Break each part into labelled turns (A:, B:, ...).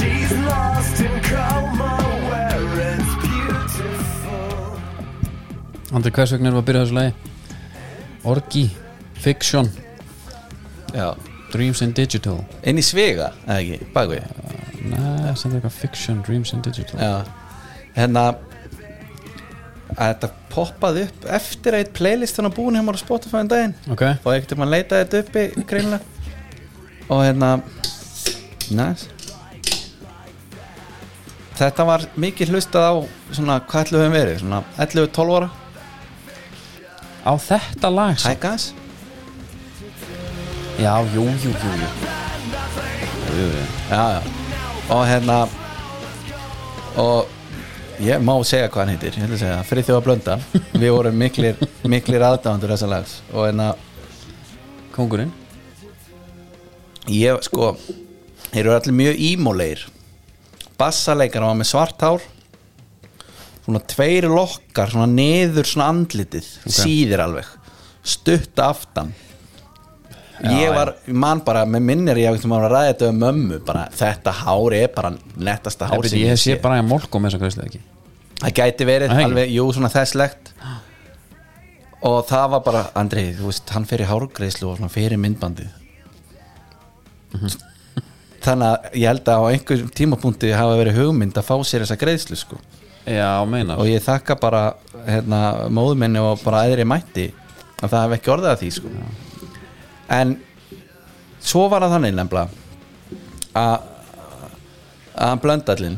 A: She's lost in coma where it's beautiful.
B: Andri, hvers vegna erum við að byrja þessu lagi? Orgi, Fiction,
C: Já,
B: Dreams and Digital
C: inn í svega, eða ekki, bakvið
B: Nei, sem er eitthvað Fiction, Dreams and Digital
C: Já, hérna að þetta poppaði upp eftir að eitt playlist hann að búin hjá mér á Spotify um daginn
B: Ok,
C: og ekkert um að leita þetta uppi greinlega og hérna næs þetta var mikið hlustað á svona, hvað ætlum við verið, svona 11-12 ára
B: á þetta lag sko.
C: Hæ
B: sem-
C: guys
B: Já, jú, jú, jú, jú
C: já, já. og hérna og ég má segja hvað hann heitir ég ætla að segja, fyrir þjóða blönda við vorum miklir, miklir aðdáðandur þessa lags og hérna
B: Kongurinn
C: Ég, sko, þeir eru allir mjög ímóleir Bassaleikar var með svart hár Svona tveir lokkar, svona neður svona andlitið Síðir alveg Stutt aftan Ég var, man bara, með minnir ég að maður að ræða þetta um mömmu bara, Þetta hár er bara nettasta hár
B: Ég,
C: sem
B: ég hef
C: sé.
B: sé bara að molko með þessa greiðslega ekki
C: Það gæti verið
B: Nei.
C: alveg, jú, svona þesslegt Og það var bara, Andri, þú veist, hann fyrir hárgreislu og svona fyrir myndbandið Þannig að ég held að á einhverjum tímapunkti hafa verið hugmynd að fá sér þessa greiðslu sko.
B: Já, meinar
C: og ég þakka bara hérna, móðu minni og bara aðri mætti að það hef ekki orðið að því sko. en svo var það þannig nefnilega að að blöndallinn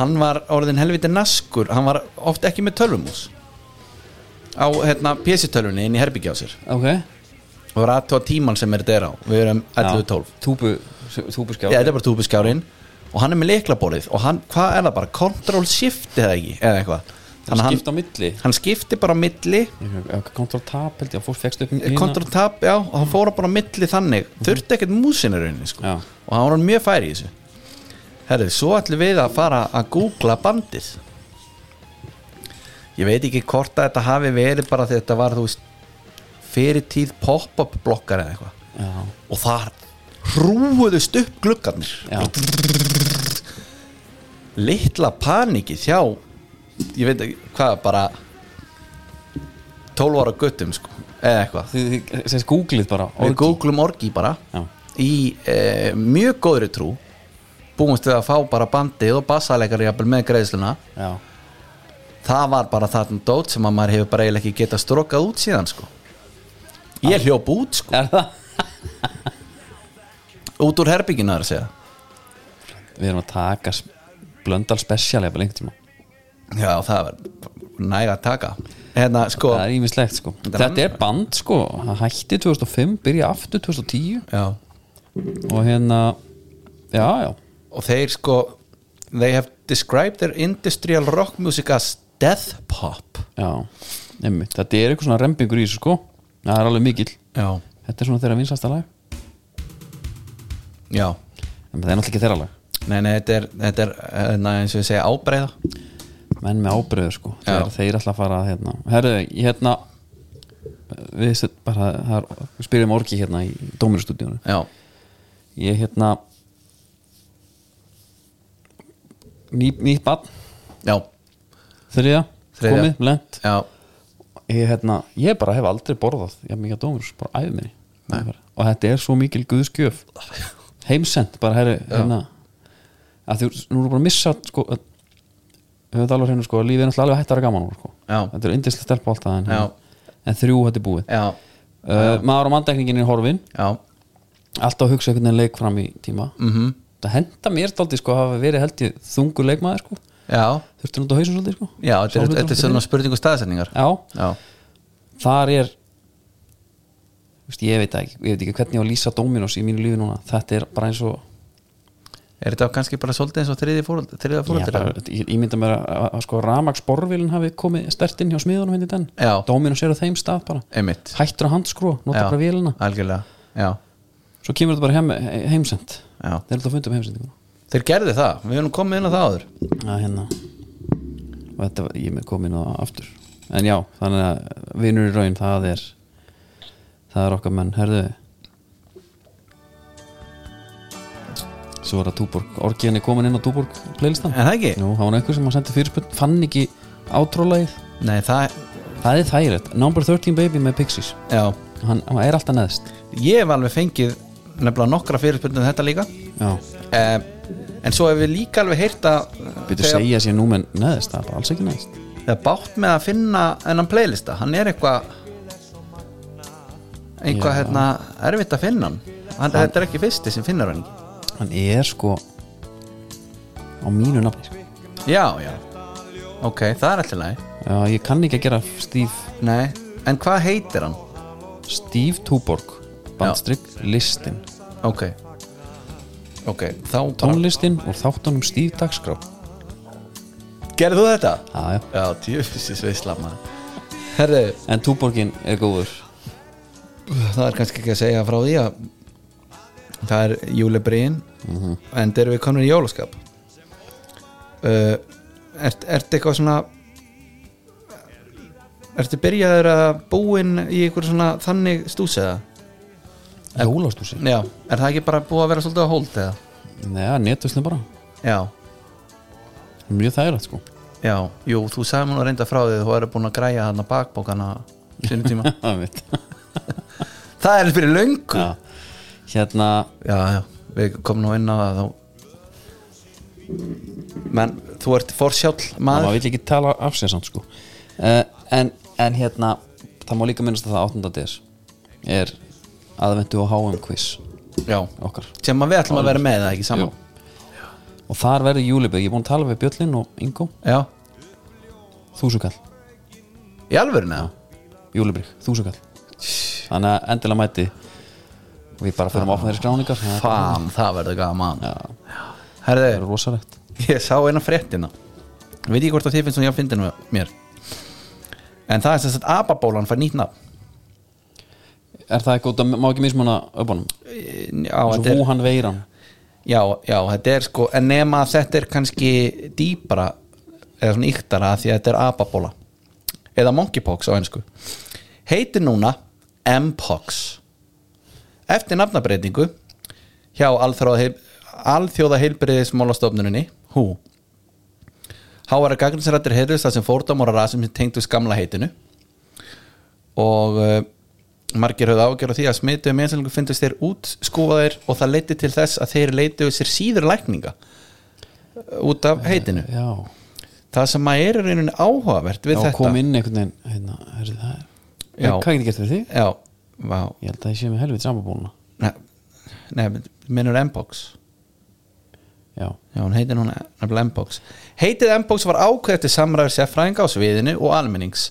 C: hann var orðin helviti naskur hann var oft ekki með tölvumús á hérna, pjessitölvunni inn í herbyggi á sér
B: Ok
C: og var aðtóa tíman sem er þetta er á við erum 11-12
B: Túbu, túbu skjá
C: Já, þetta er bara túbuskjárin og hann er með leiklaborið og hann, hvað er það bara, control shift eða ekki, eða eitthvað
B: Hann
C: þannig að
B: skipta á
C: hann,
B: milli
C: hann skipti bara á milli
B: Control tap held ég að fór fegst upp
C: control tab, já, og hann fóra bara á milli þannig, þurfti ekkert músinu rauninni sko.
B: Já.
C: og hann var hann mjög færi í þessu herrið, svo ætlum við að fara að googla bandið ég veit ekki hvort að þetta hafi verið bara þegar þetta var, þú veist fyrirtíð pop-up blokkar eða eitthvað
B: Já,
C: og þar hrúuðust upp gluggarnir
B: já,
C: litla paniki þjá ég veit ekki hvað bara 12 ára guttum sko eða eitthvað
B: þið, þið, þið googlið bara
C: við googlum orgi bara
B: Já.
C: í e, mjög góðri trú búumst við að fá bara bandið og bassaleikar jafnvel með greiðsluna
B: Já,
C: það var bara þarna dót sem að maður hefur bara eiginlega ekki getað strokað út síðan sko ég hljóp út sko
B: er það?
C: út úr herbygginu þar að segja
B: Við erum að taka s- blöndal special eða lengt tíma
C: já það var næg að taka hérna sko
B: Það er ímislegt sko
C: Þetta
B: Þetta
C: er-
B: er band sko, það hætti 2005 byrja aftur 2010
C: já
B: og hérna Já, já,
C: og þeir sko they have described their industrial rock music as death pop
B: já Nefnir, þetta er eitthvað svona rembingur í þessu sko Það er alveg mikill
C: já,
B: Þetta er svona þeirra vinsasta lag
C: já.
B: En það er náttúrulega ekki þeirra lag
C: Nei, nei, þetta er, þetta er na, eins og ég segja ábreyða
B: Menn með ábreyður sko
C: Já.
B: Þegar þeir alltaf fara að hérna Herðu, hérna Við set bara, það er, við spyrjum orki hérna í Dóminustúdíunum
C: já,
B: ég hérna ný, nýtt bann
C: já,
B: þriða,
C: Þriðja.
B: komið, lent
C: já
B: ég, hérna, ég bara hef aldrei borðað ég hef mikið að dómur, bara æfið minni Bara. og þetta er svo mikil guðskjöf heimsend, bara herri hérna, að þú, nú erum bara að missa sko, að- við höfum þetta alveg hérna sko, að lífið er náttúrulega alveg hætt að vera gaman úr, sko.
C: Já.
B: þetta er yndislega stelpa alltaf en, hérna,
C: Já.
B: en þrjú þetta er búið
C: já,
B: uh, maður á manndekningin er horfin
C: já,
B: alltaf að hugsa einhvern veginn leik fram í tíma
C: Mhm.
B: -hmm. það henda mér daldi sko að hafa verið held ég þungur leikmaður sko
C: já,
B: þurfti nút á hausum svolítið sko
C: já þetta er,
B: Sjálfur
C: þetta er
B: dálítið
C: svona spurningu staðsendingar
B: fyrir. já,
C: já,
B: þar er Vist, ég veit það ekki, ég veit ekki hvernig ég á að lýsa Dominos í mínu lífi núna, þetta er bara eins og
C: er þetta kannski bara svolítið eins og þriði fóröld þriða
B: ég,
C: fóröld
B: bara, ég, ég mynda mér að, að, að sko ramagsborvilin hafi komið stertinn hjá smiðunum henni den,
C: Já.
B: Dominos er á þeim stað bara
C: einmitt,
B: hættur að handskrúa, nota
C: já,
B: bara vélina
C: algjörlega já,
B: svo kemur þetta bara heim, heimsend
C: já,
B: þeir eru alltaf fundum um heimsendinguna
C: þeir gerðu það við erum komið inn á það áður
B: að hérna og þetta var, ég með komin á aftur en já, þannig að vinur í raun það er það er okkar menn, herðu Svo var það Túborg, orgiðan er komin inn á Túborg playlistan
C: Er það ekki?
B: Jú, það var nú einhver sem að sendi fyrirspurn, fann ekki átrólægið
C: Nei, það,
B: Það er þægilegt, Number 13 Baby með Pixies
C: já
B: Hann, hann er alltaf neðst
C: Ég hef alveg fengið nefnilega nokkra fyrirspurnum þetta líka
B: Já,
C: eh, En svo hef við líka alveg heyrt að
B: byrju að segja sér nú með neðst, það er bara alls ekki neðst
C: Þegar bátt með að finna ennan playlista Hann er eitthvað Eitthvað
B: Já.
C: hérna erfitt að finna hann, hann Þetta er ekki fyrsti sem finnur hann ekki.
B: Hann er sko á mínu nafni sko.
C: Já, já Ok, það er alltaf leið
B: Já, ég kann ekki að gera Steve
C: Nei, en hvað heitir hann?
B: Steve Túborg bandstrykk listin
C: Ok Ok, þá bara
B: tónlistin og þáttunum Steve Dagskrá
C: Gerðu þú þetta?
B: Já, já.
C: Já, djöfisins veisla maður Herðu,
B: en Túborgin er góður
C: það er kannski ekki að segja frá því að Það er júlebriðin En þeir eru við konur í jólaskap uh, Ert ert eitthvað svona Ertu byrjaður að búin í einhver svona þannig stúsiða?
B: Jólastúsi
C: Já, er það ekki bara búið að vera svolítið á hold eða?
B: Nei, netvislu bara,
C: Já,
B: mjög þægilegt sko
C: já, jú, þú sagði mér nú reynda frá því að þú eru búin að græja þarna bakbókana sinni tíma
B: Það veit
C: Það er fyrir löngu
B: Já. Hérna,
C: já, já, við komum nú inn á það þá menn, þú ert forsjálf
B: maður
C: maður
B: vill ekki tala af sér samt sko uh, en, en hérna, það má líka minnast að það 8. des er aðventu og HM quiz
C: já,
B: okkar
C: sem að við ætlum að vera með það ekki saman
B: Jú. Og þar verður júliböð, ég er búin að tala við Bjöllin og Ingo,
C: já,
B: þúsukall
C: í alvöru með
B: Júlibrygg, þúsakall Þannig að endilega mæti og við bara
C: Ah,
B: fyrir að opna þeirri skráningar
C: það
B: Það
C: fan, það verður gaman
B: Já. er
C: herðu,
B: rosalegt
C: ég sá eina fréttina Ég veit ég hvort að þið finnst hún ég að fyndinu mér en það er sem sagt ababólan fær nýtt nafn
B: Er það ekki út að má ekki mismuna öpunum?
C: já,
B: Svo
C: þetta er,
B: Wuhan veiran
C: já, já, þetta er sko en nema að þetta er kannski dýpra eða svona yktara því að þetta er ababóla eða monkeypox á einsku heitir núna Mpox eftir nafnabreitingu hjá alþjóða heilbriðismálastofnuninni hú háværa gagninsrættir heyrðist það sem fórdamóra rasum sem tengdust gamla heitinu og uh, margir höfðu ágjörð á því að smituðu meðsælingu fyndust þeir útskúfaðir og það leiti til þess að þeir leituðu sér síður lækninga eh, út af heitinu
B: Já,
C: það sem að er í rauninni áhugavert við
B: já
C: þetta
B: kom inn einhvern veginn hérna, herri, það er
C: Já.
B: Já. Hvað getur gert fyrir þig?
C: Já, vá
B: Ég held að ég sé með helvið samanbúna
C: Nei, nei minnur M-Box
B: Já,
C: Já, hún heitir núna nefnilega M-Box Heitið M-Box var ákveð eftir samræður sérfræðinga á sviðinu og almennings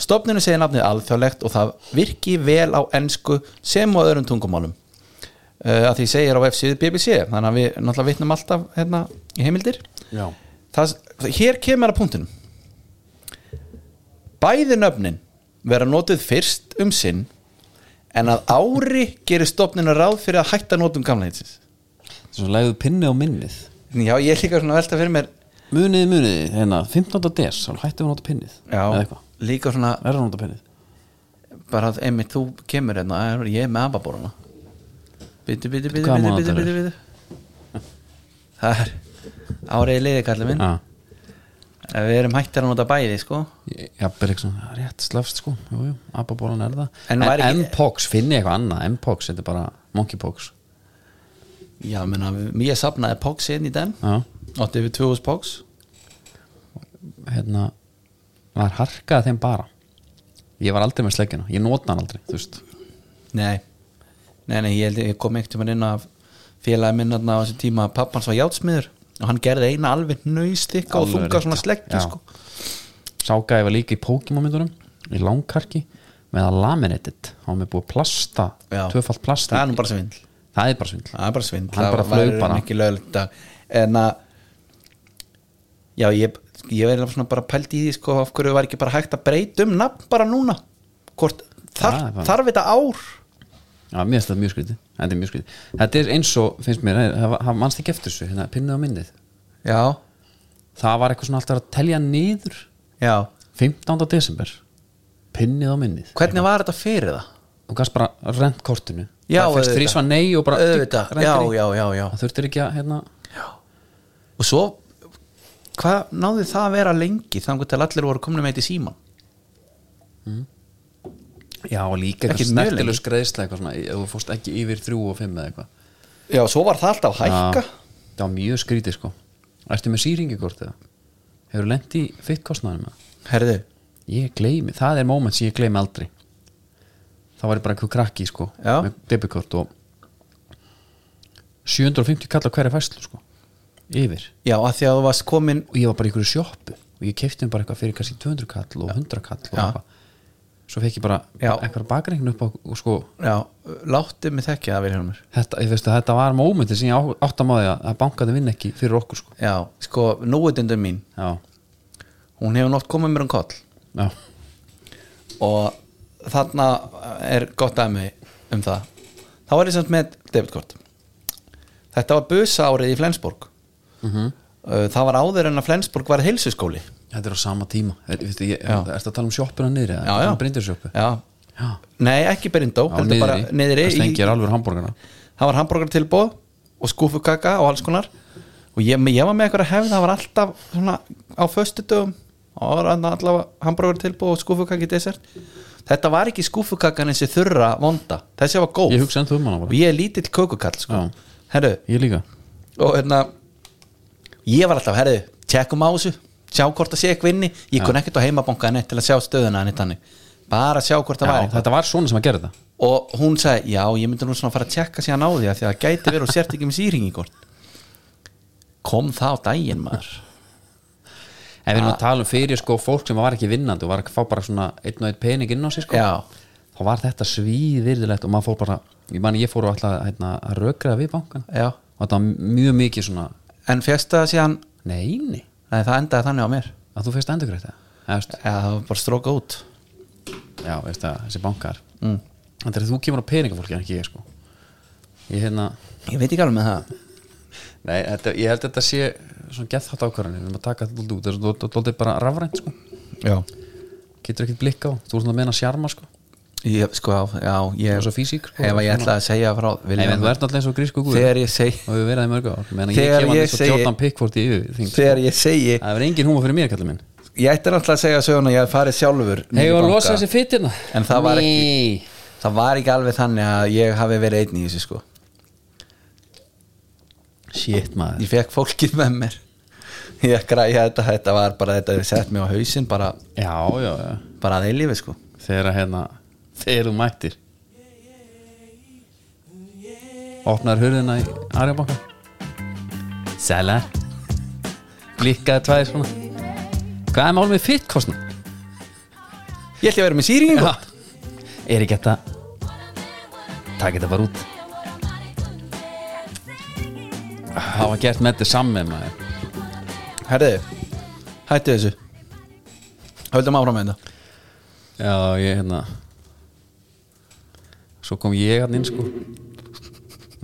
C: Stofninu segir nafnið alþjóðlegt og það virki vel á ensku sem og öðrum tungumálum uh, að því segir á F-síðu BBC þannig að við náttúrulega vitnum alltaf hérna í heimildir
B: já
C: það, Hér kemur að punktinum Bæði nöfnin vera notuð fyrst um sinn en að ári gerir stofninu ráð fyrir að hætta notum gamleitsins
B: Svo legðu pinni á minnið
C: Já, ég er líka svona að velta fyrir mér
B: Muniði, muniði, hérna, 15. des þá hættum við að nota pinnið Eða
C: Já,
B: eitthvað,
C: líka svona
B: verður að nota pinnið
C: bara að einmitt þú kemur hérna er- ég er með ababóruna Bitu, bitu, bitu,
B: Hvaða
C: bitu, bitu,
B: mánaðadagur
C: bitu, bitu Það er áriði liði kallið minn
B: Já,
C: Ef Við erum hættir að nota bæði, sko
B: Já, Bergson, það er rétt slefst sko Jú, jú, ababólan er það
C: En
B: En,
C: væri ekki-
B: M-Pox, finni eitthvað annað M-Pox, þetta er bara Monkeypox
C: Já, menna, mér safnaði pox inn í den
B: Já,
C: Átti við 2000 pox
B: hérna Var harkað þeim bara Ég var aldrei með sleggjuna, ég nota hann aldrei Þú veist,
C: Nei, nei, nei, ég, held, ég kom einhvern tímann inn af félagi minn þarna á þessu tíma að pappans var játsmiður og hann gerði eina alveg nöystikka og
B: Alveg
C: þunga
B: rétt,
C: svona
B: já.
C: sleggju
B: Já.
C: sko.
B: ságæði var líka í Pokémon myndunum Í langkarki Með að laminated, hann með búið að plasta
C: Já.
B: Tvöfalt plasta
C: Það er nú bara svindl
B: Það er bara svindl
C: Það er bara svindl
B: Hann bara
C: Það
B: flaug
C: var
B: bara.
C: ekki löglegt að- En að Já, ég, ég verði svona bara pælt í því sko, af hverju var ekki bara hægt að breyta um nafn bara núna Hvort, þar,
B: Það er bara-
C: þarf þetta ár
B: Já, mér finnst þetta mjög skrítið Þetta er mjög skrítið Þetta er eins og, finnst mér, eh, hann manst ekki eftir þessu hérna, Pinnið á myndið
C: Já,
B: Það var eitthvað svona alltaf að telja niður
C: já
B: 15. desember pinnið á minnið
C: Hvernig var þetta fyrir það?
B: og gæst bara rent kortinu
C: Já,
B: það fyrst
C: auðvitað.
B: þrísva nei og bara
C: Auðvitað,
B: rendir
C: já,
B: í.
C: já, já, já
B: það þurftir ekki að hérna,
C: Og svo, hvað náði það að vera lengi þangur til allir voru komin með eitt í síman
B: já og líka
C: Ekki
B: eitthvað
C: mjög
B: snertilegs greiðsla eitthvað svona, ef þú fórst ekki yfir þrjú og fimm eða eitthvað
C: Já, svo var það alltaf hækka
B: Já, það var mjög skrítið sko ertu með sýringikort eða hefur lent í fitt kostnaðum eða
C: Herðu,
B: ég gleymi, það er moment sem ég gleymi aldrei það var ég bara einhver krakki sko
C: Já.
B: með debitkort og 750 kall á hverja fæslu sko yfir
C: já, að því að þú varst komin
B: og ég var bara í einhverju sjoppu og ég kefti mér bara eitthvað fyrir kannski 200 kall og 100 kall og
C: Já.
B: eitthvað svo fekk ég bara
C: Já.
B: eitthvað bakreikn upp á og sko
C: Já, láttu mig þekkja það, Vilhelmur
B: þetta, ég veist að þetta var momenti sem ég á- áttamáði að, að bankaði vinn ekki fyrir okkur sko
C: Já, sko, núutundum mín
B: já,
C: Hún hefur nátt komið mér um koll
B: já,
C: og þarna eh, er gott dæmi um það þá var ég samt með debitkort þetta var busa árið í Flensborg Uh, það var áður en að Flensborg var heilsuskóli
B: þetta er á sama tíma er, veistu, ég,
C: Já.
B: er, ertu að tala um sjoppuna niðri eða? Ertu að tala um brindarsjoppu
C: já.
B: já,
C: nei ekki Berindó,
B: á
C: heldur bara niðri
B: það
C: í,
B: stengir alveg hambúrgarna
C: það var hambúrgartilbóð og skúfukaka og alls konar og ég, ég var með eitthvað hefð, það var alltaf svona á föstudögum og var þarna allavega hambúrgartilbóð og skúfukaki desert þetta var ekki skúfukakan eins og þurra vonda, þessi var góð
B: ég hugsa ennþá um hana
C: og
B: bara
C: ég er lítill kökukall sko.
B: Já.
C: herru,
B: ég líka
C: og hérna ég var alltaf, herru, tjekkum á þessu sjá hvort það sé eitthvað inni ég kunni ekkert á heimabankaði neitt til að sjá stöðuna neitt hannig bara sjá hvort það
B: já,
C: væri eitthvað.
B: þetta var svona sem að gera þetta
C: og hún sagði, já, ég myndi nú svona fara að tjekka síðan á því að því að það gæti verið og sért ekki með sýringingort kom það á daginn maður
B: en við erum að tala um fyrir sko fólk sem var ekki vinnandi og var að fá bara svona einn og einn pening inn á sig sko
C: Já.
B: þá var þetta svíðvirðilegt og maður fór bara ég mani ég fór og alltaf hérna, að rökraða við bankan
C: já.
B: og þetta var mjög mikið svona
C: en fjast það síðan,
B: neini
C: nei það endaði þannig á mér
B: að þú fyrst endur greitt það
C: já, það var bara stróka út
B: já veist það þessi bankar mm. þannig að þú kemur á peningafólki en ekki ég sko ég hérna
C: ég veit ekki alveg með það
B: nei þetta, ég held að þetta sé svona gethætt ákvarðanir við erum að taka þetta dálítið út þess að þú dóldi bara rafrænt sko
C: já,
B: getur ekkert blikka á þú er svona að meina sjarma sko
C: ég, sko, já ég,
B: Og svo físík, sko.
C: ef að ég ætla að segja frá
B: nei menn
C: Vilhjálmur.
B: þú ert náttúrulega eins og grísku guð
C: þegar ég segi
B: og við verðum í mörg ár meðan ég
C: Þegar
B: kemur
C: ég
B: eins og
C: segi-
B: Jordan Pickford í yfir þing
C: þegar ég segi
B: það verður engin húma fyrir mér kallar minn
C: ég ætti náttúrulega að segja söguna að ég hef farið sjálfur niður í
B: hefur að
C: banka.
B: losa þessi fytirna
C: En það var ekki- það var ekki alveg þannig að ég hafi verið einn í þessu sko
B: shit maður
C: ég fekk fólkið með mér ég græja þetta, þetta var bara þetta við sett mig á hausinn bara,
B: já já já
C: bara að eilífi sko
B: þegar að hérna þegar þú mættir opnar hurðina í Arjabanka sæla blikkaði tvær svona hvað er mál með fytkostna
C: ég ætla að vera með sýringu
B: Já. er ekki þetta takk þetta bara út það var gert með þetta samme maður
C: herðu, hættu þessu höldum áfram með þetta
B: Já, ég hérna Svo kom ég hann inn sko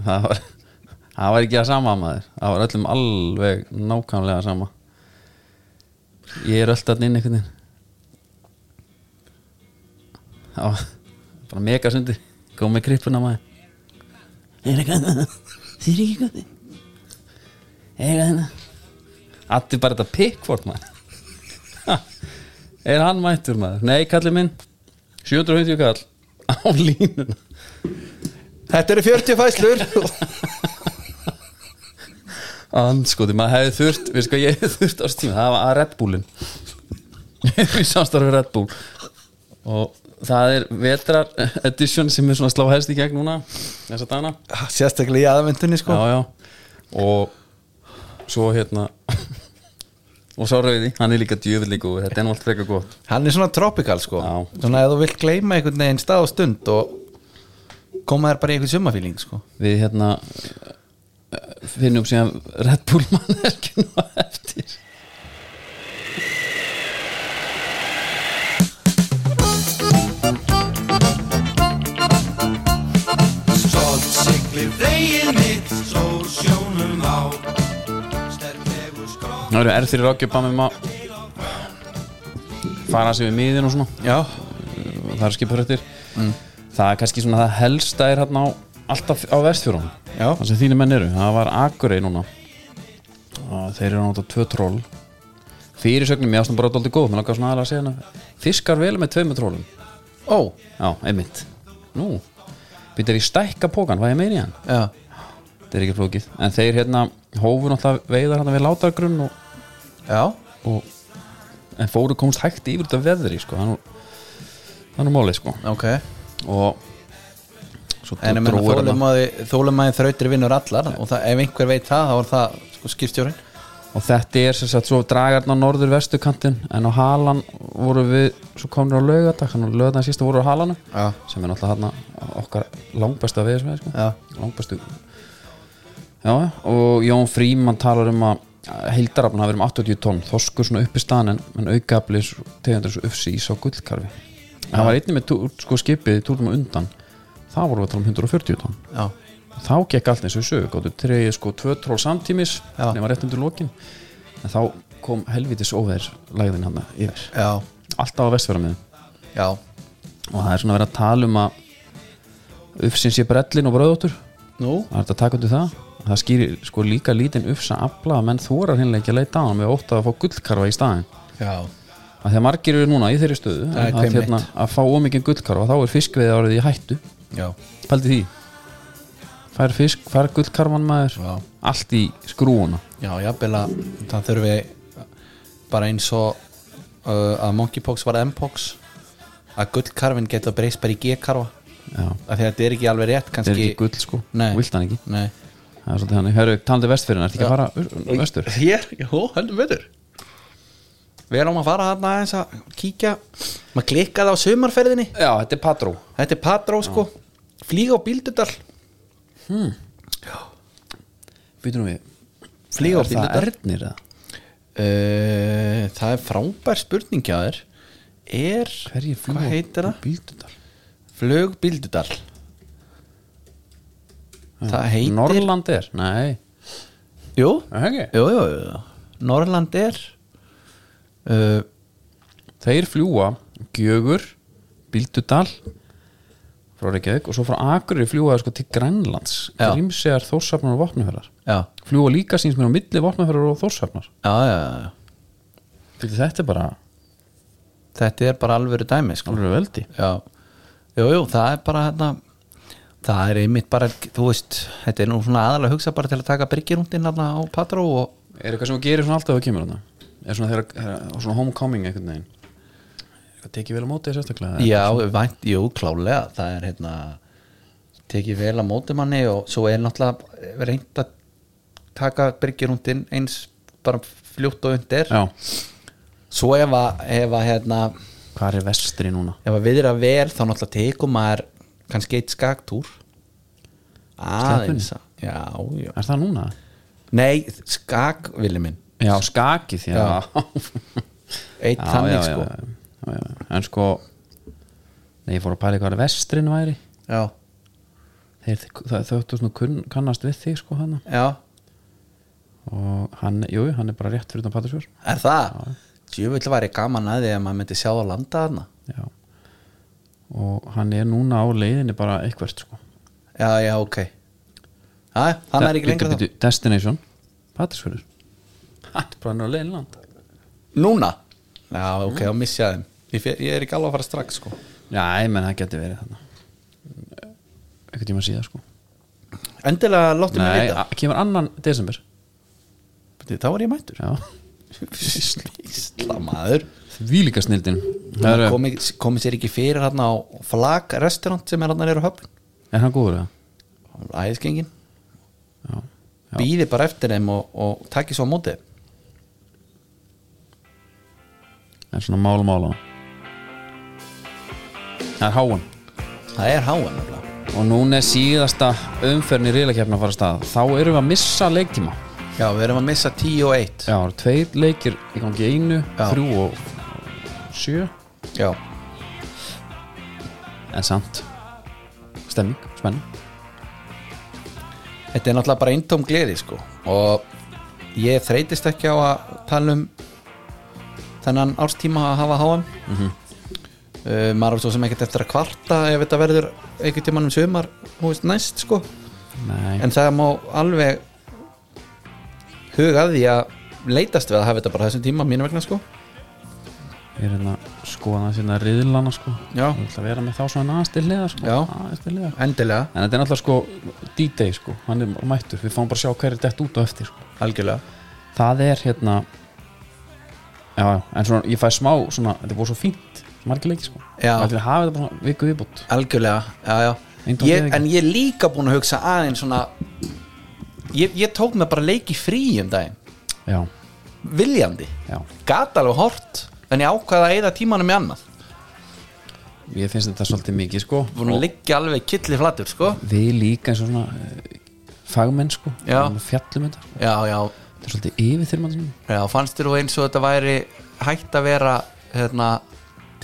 B: Það var Það var ekki að sama maður Það var öllum alveg nákvæmlega sama Ég er öll hann inn einhvern veginn Það var bara mega sundi Kom með krippuna maður Er ekki að Þið er ekki að Er ekki að Allir bara þetta pikkvort maður Er hann mættur maður? Nei, kallið minn 750 kall á línuna
C: þetta eru 40 fæslur
B: Anskoti, maður hefði þurft Við sko, ég hefði þurft ástíma Það var að Red Bullin Við samstarfið Red Bull Og það er vetrar edition sem er svona að slá helst í gegn núna Þess að dana
C: sérstaklega í aðvendunni sko
B: Já, já Og svo hérna Og sá rauði, hann er líka djöfillíku Þetta er nú allt frekar gott
C: hann er svona tropical sko
B: Já.
C: svona ef þú vilt gleyma einhvern veginn stað og stund og koma þér bara í einhvern sumafíling sko
B: við hérna eh, finnum síðan Red Bull manneskinu á eftir
A: Stolt siglir veginn mitt Sól sjónum á Sterklegur skrók
B: Það eru erþri rákjöpa með maður fara sér við miðin og svona
C: já, Mm.
B: það eru skipurrættir það er kannski svona það helsta er hérna á alltaf á vestfjörunum
C: Já.
B: það sem þínu menn eru, það var Akurey núna og þeir eru náttúrulega tvö troll fyrirsögnum, ég ástum bara dálítið góð mér langar svona aðalega að segja hana fiskar vel með tveimur trólum
C: Ó,
B: já, einmitt nú, býttir ég stækka pókan, hvað ég meini hann
C: já,
B: þetta er ekki flókið, en þeir hérna hófu náttúrulega veiðar hérna við látargrunn og,
C: já
B: og en fóru komst hægt yfir þetta veðri sko, það er nú- það er nú málið sko
C: Ok,
B: og svo
C: en ég menna
B: dróir þarna.
C: þólemaði, þólemaði þrautir vinnur allar og það, ef einhver veit það, þá er það sko, skipstjórin
B: og þetta er sem sagt svo dragarn á norður vestukantin en á halan voru við svo komnir á laugardag hann á laugardag sísta voru á halanu
C: Já.
B: sem er náttúrulega hann okkar langbesta við sko.
C: Já.
B: langbestu já, já, og Jón Fríman talar um að heildarafn hafi verið um 80 tonn þoskur svona upp í staðan en, en aukafli tegundur svo ufsi ís á gullkarfi það var einnig með túr, sko, skipið túrnum á undan það voru við að tala um 140 tonn
C: Já,
B: þá gekk allt eins og í sögu gáttu treyið sko tvö tról samtímis
C: Já.
B: nema rétt undir lokin en þá kom helvitis óveður lægðin hann yfir,
C: já,
B: alltaf á vestfjöramiðum
C: já
B: og það er svona verið að tala um að ufsin sé brellin og bröðóttur
C: Nú,
B: það er þetta að taka undir það það skýrir sko líka lítinn ufsa afla að menn þórar hinnlega ekki að leita á hann með ótt að fá gullkarfa í staðin
C: já,
B: að því að margir eru núna í þeirri stöðu
C: Það er
B: að,
C: hvimleitt.
B: hérna, að fá ómikið gullkarfa þá er fiskveið árið í hættu
C: já,
B: pældi því fær fisk, fær gullkarfan maður
C: Já.
B: allt í skrúuna
C: já, jafnvel að það þurfi bara eins og uh, að monkeypox var m-pox að gullkarfin geta breyst bara í g-karfa
B: Já,
C: af því að þetta er ekki alveg rétt
B: þetta er
C: kannski
B: ekki gull sko,
C: Nei.
B: vilt hann ekki
C: Nei.
B: Það er svolítið hann, hörru, talandi vestfyrin, ertu ekki að fara ur- ur- vestur?
C: Hér, jú, heldur betur Við erum að fara hann aðeins að kíkja maður klikkaði á sumarferðinni
B: Já, þetta er Patró
C: Þetta er Patró sko Flýga á Bíldudal
B: Býtum við,
C: Flýga á
B: er það
C: Bíldudal það,
B: ernir eða?
C: Eh, það er frábær spurning hjá þér Er
B: Hverjir fljúga
C: Hvað heitir það?
B: Bíldudal
C: Flög Bíldudal Það heitir
B: Norrland Ah. er, nei,
C: Jú,
B: er það ekki
C: jú, jú, jú. Norrland er uh,
B: Þeir fljúa Gjögur, Bíldudal frá Reykjavík og svo frá Akureyri fljúa þeir sko til Grænlands
C: Já.
B: Grímsegar, Þórshafnar og Vopnufjörðar
C: Já,
B: fljúa líka síns mér á milli Vopnufjörðar og Þórshafnar
C: já, já, já
B: Fyrir þetta er bara
C: Þetta er bara alvöru dæmi sko.
B: alveg veldi
C: Já, jú, jú, það er bara hérna Það er einmitt bara, þú veist Þetta er nú svona aðalega hugsa bara til að taka byrgirúndin hérna á Patró og
B: Er eitthvað sem þú gerir svona alltaf að þú kemur hana? Er svona, þeirra, þeirra, svona homecoming einhvern veginn? Er eitthvað tekið vel á móti þér sérstaklega?
C: Já, vænt, jú, klálega Það er hérna tekið vel að móti manni og svo er náttúrulega reynd að taka byrgirúndin eins bara fljótt og undir
B: Já.
C: Svo ef að, ef að hérna
B: Hvað er vestri núna?
C: ef að við erum að ver þá náttúrulega tekum maður kannski eitt skaktúr aðeins að- Já, já
B: Er það núna?
C: Nei, skak, villi minn
B: Já, skakið því að
C: Eitt þannig sko
B: já, já, já, já. En sko Nei, ég fór að pæla í hvað er vestrin væri
C: Já,
B: Þeir, það, þau svona kunn, kannast við þig sko hana
C: já,
B: og hann, jú, hann er bara rétt fyrir utan Patrísfjör
C: er það? Djöfull væri gaman að því að maður myndi sjá að landa þarna
B: Já Og hann er núna á leiðinni bara eitthvert sko
C: Já, já, ok Já, hann er ekki
B: Bíddu,
C: lengra
B: bíddu, Destination, Patrísfjörður Hann er bara nú á leiðinni land
C: þá Núna? Mm. Já, ok, þá missi ég þeim ég, fer, ég er ekki alveg að fara strax sko
B: Já, ég menn það geti verið þarna Eitthvað tíma síðan sko
C: Endilega láttu mig
B: Nei,
C: vita
B: a- kemur annan desember
C: Bíddu, Þá var ég mættur
B: Já,
C: Ísla maður
B: því líka snildin
C: komi, komi sér ekki fyrir hann á flag restaurant sem er hann að eru höfn
B: Er hann góður eða?
C: Æðisgengin
B: Já, já.
C: Býði bara eftir þeim og, og takki svo á móti þeim.
B: er svona mál mála Það er háan
C: Það er háan nefnilega
B: Og núna er síðasta umferðin í riðlakefna að fara af stað Þá erum við að missa leiktíma
C: Já, við erum að missa 10 og 1
B: Já, það eru tveir leikir í gangi einu,
C: Já.
B: þrjú og sjö
C: Já,
B: En samt Stemming, spenning
C: þetta er náttúrulega bara eintóm gleði sko og ég þreytist ekki á að tala um þennan árstíma að hafa háan mm uh, maður á svo sem ekkert eftir að kvarta ef þetta verður einhvern tímann um sumar þú veist, næst sko
B: Nei,
C: en það má alveg huga að því að leitast við að hafa þetta bara þessum tíma mínu vegna sko
B: ég er hérna skoða sérna riðlana sko
C: já,
B: Ég ætla að vera með þá svona aðeins til hliðar sko.
C: Já.
B: aðeins til hliðar
C: endilega,
B: En þetta er náttúrulega sko D-Day sko, hann er mættur, við fáum bara að sjá hverju dett út og eftir sko.
C: algjörlega
B: Það er hérna Já, já, en svona ég fæ smá svona, þetta er búið svo fínt, svo margir leiki sko
C: Já.
B: Það er að hafa þetta bara svona viku viðbútt
C: algjörlega, já, já
B: Eindótt eða
C: ég,
B: ekki?
C: en ég er líka búin að hugsa aðeins svona ég, ég tók mig bara leiki frí um daginn
B: Já,
C: viljandi,
B: já,
C: gata alveg hort en ég ákvaða að eyða tímanum í annað
B: ég finnst þetta svolítið mikið sko
C: búin að liggja alveg killi flatur sko
B: Við líka eins og svona eh, fagmenn sko,
C: Já.
B: Við fjallum þetta
C: já, já,
B: Þetta er svolítið yfir þegar maður
C: já, fannst þér þú eins og þetta væri hægt að vera hérna,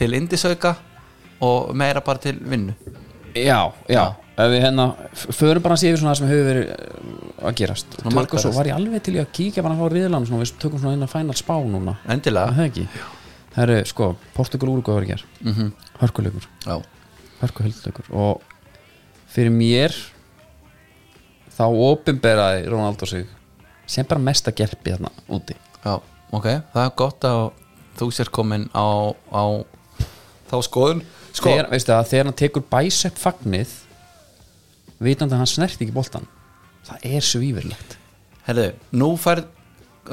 C: til indisauka og meira bara til vinnu
B: Já, já, ef við hérna f- förum bara að sé yfir svona það sem hefur verið eh, að gerast
C: Svona
B: Tökum svo,
C: markverðast.
B: var ég alveg til í að kíkja bara á riðlan svona, við tökum svona eina final spá núna Það
C: endilega
B: er ekki Það eru, sko, Portugal úrgóður ger mm
C: Mhm.
B: -hmm. Hörkuleikur,
C: já,
B: hörkuhöldleikur og fyrir mér þá opinberaði Ronaldo sig sem bara mesta gerpi þarna úti
C: já, ok, það er gott að þú sér komin á, á þá skoðun sko,
B: þegar, veistu það, þegar hann tekur bicep fagnið vitandi að hann snerti ekki boltan það er svífurlegt
C: herðu, nú færð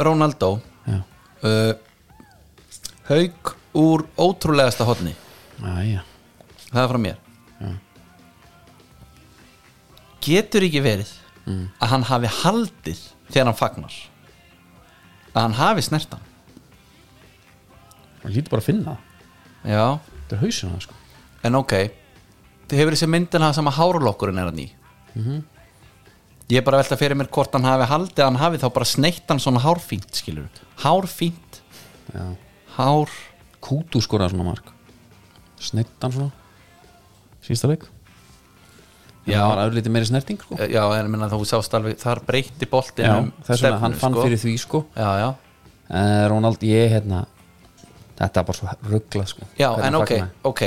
C: Ronaldo
B: Já,
C: uh, haug úr ótrúlegasta hotni
B: aðja
C: það er frá mér getur ekki verið
B: Mm.
C: að hann hafi haldið þegar hann fagnar að hann hafi snertan
B: hann lítur bara að finna það
C: já,
B: þetta er hausina sko
C: en ok þið hefur þessi myndin hafa sama hárlokkurinn er hann í
B: Mhm.
C: ég er bara að velta fyrir mér hvort hann hafi haldið að hann hafi þá bara sneitt hann svona hárfínt skilur hárfínt
B: já.
C: hár,
B: kútu skoraði svona mark snittan svona sísta leik
C: Já.
B: það var aður lítið meiri snerting sko.
C: já, en minna þú sást alveg þar breytti boltinn
B: já,
C: um
B: þess vegna
C: stefnu,
B: hann fann
C: sko.
B: fyrir því sko
C: já, já,
B: en eh, Ronald ég hérna þetta er bara svo rugglað sko
C: Já,
B: Hvernig
C: en ok,
B: fagnaði.
C: ok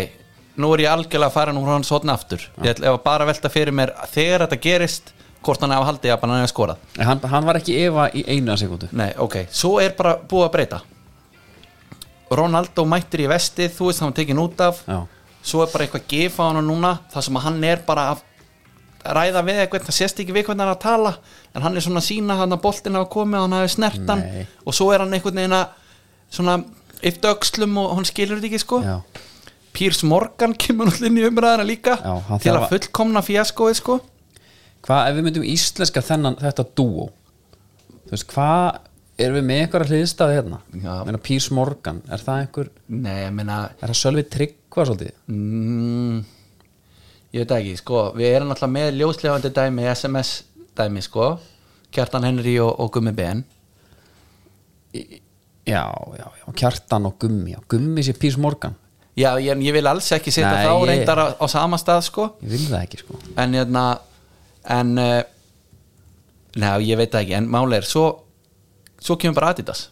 C: Nú er ég algjörlega að fara nú hans hotna aftur Ég ætla ef að bara velta fyrir mér að þegar þetta gerist hvort hann hafa haldið að hann hafa skorað
B: En hann, hann var ekki Eva í eina sekundu
C: Nei, ok, svo er bara búið að breyta Ronaldo mættir í vestið þú veist hann var tekinn út af
B: já,
C: svo er bara eitthvað gif á hann núna þar sem að hann er bara að ræða við eitthvað, það sést ekki við hvernig hann er að tala en hann er svona að sína hann að boltin hafa komið og hann hafi snert hann
B: Nei.
C: og svo er hann einhvern veginn að svona yfti öxlum og hann skilur þetta ekki sko
B: já,
C: Piers Morgan kemur náttúrulega inn í umræðina líka
B: Já, hann
C: til að
B: þarf að-
C: fullkomna fjaskoði sko
B: hvað ef við myndum íslenska þennan þetta dúo þú veist, hvað erum við með einhverja hliðstæði hérna
C: Já.
B: Meina, Piers Morgan, er það einhver
C: Nei, ég meina
B: er það Sölvi Tryggva svolítið
C: mm, ég veit það ekki, sko við erum náttúrulega með ljóslefandi dæmi SMS dæmi, sko Kjartan Henry og, og Gummi Ben
B: já, já, já, kjartan og gummi já, gummi sé Pís Morgan
C: Já, ég, en ég vil alls ekki setja
B: Nei,
C: þá
B: ég-
C: reyndar á, á sama stað, sko
B: ég vil það ekki sko
C: en hérna en, uh, neða, ég veit það ekki en máli er, svo svo kemur bara Adidas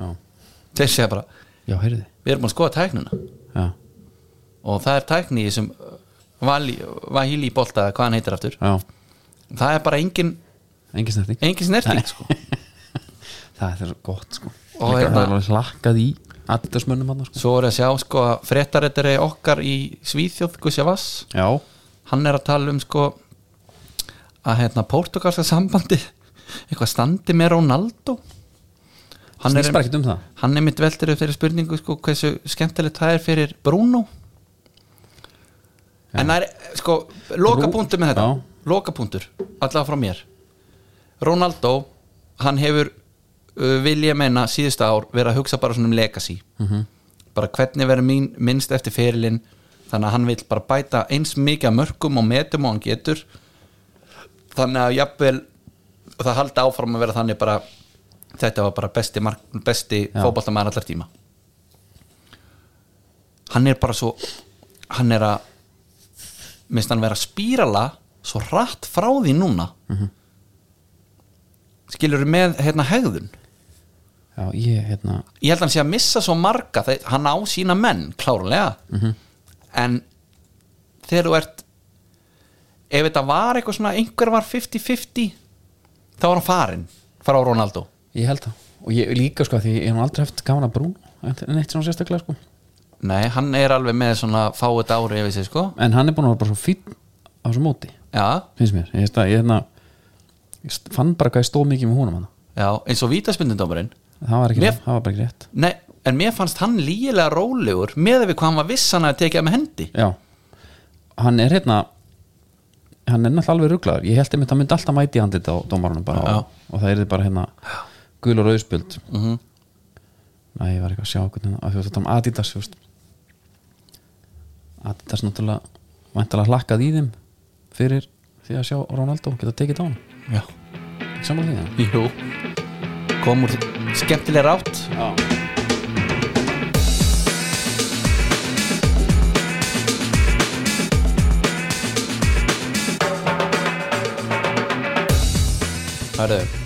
B: já,
C: þeir segja bara,
B: já heyrði
C: við erum búin að skoða tæknuna
B: já,
C: og það er tækni í þessum uh, Vali- Vahili bolta, eða hvað hann heitir aftur
B: já,
C: það er bara engin,
B: engin snerting
C: engin snerting sko.
B: það er svo gott sko og
C: Og hérna-
B: það er alveg hlakkað í aðdöðsmönnum hann sko
C: svo er að sjá sko að fréttarettari okkar í Svíþjóð Guðsjavass,
B: já,
C: hann er að tala um sko að hérna portugalska sambandi eitthvað standi með Ronaldo hann
B: snýst
C: er,
B: bara ekkert um það
C: hann er mitt veldur fyrir spurningu sko hversu skemmtilegt það er fyrir Bruno en það er sko lokapunktur með þetta,
B: Já.
C: lokapunktur allavega frá mér Ronaldo, hann hefur uh, vilja meina síðustu ár verið að hugsa bara svona um legacy -hmm. bara hvernig verður mín, minnst eftir ferilinn þannig að hann vil bara bæta eins mikið af mörkum og metum og hann getur þannig að jafnvel og það haldi áfram að vera þannig bara þetta var bara besti, mark- besti
B: Já.
C: fótballtamaður allar tíma hann er bara svo hann er að minnst hann vera að spírala svo rætt frá því núna skilur við með hérna hegðun
B: já, já, ég, hérna
C: ég held að hann sé að missa svo marga þegar hann á sína menn klárlega -hmm. en þegar þú ert ef þetta var eitthvað svona einhver var 50-50 þá var hann farinn fara á Ronaldo
B: ég held það, og ég líka sko því ég hef nú aldrei haft gaman að brún neitt svona sérstaklega sko
C: nei, hann er alveg með svona fáið ári yfir sig sko
B: en hann er búin að vera bara svo fín á þessu móti
C: já,
B: finnst mér, ég, hérna, ég, hérna, ég st- fann bara hvað ég stóð mikið með húnum hann
C: já, eins og vítaspindindómarinn
B: það var ekki,
C: Mér-
B: rétt, það var bara ekki rétt
C: nei, en mér fannst hann lígilega rólegur með við hvað hann var viss hann að tekið með hendi
B: já, hann er hérna hann er náttúrulega alveg rugglaður ég held einmitt að hann myndi alltaf mæti hann þetta á dómarunum bara,
C: Já.
B: og, og það er bara hérna gul og rauðspjöld mm
C: Mhm.
B: -hmm. næ, ég var eitthvað að sjá okkur hérna, að þú veist þetta um Adidas þú veist. Adidas náttúrulega væntalega hlakkað í þeim fyrir því að sjá Ronaldo geta tekið á hann
C: já,
B: ekki saman því það
C: jú kom úr skemmtilega rátt Hörðu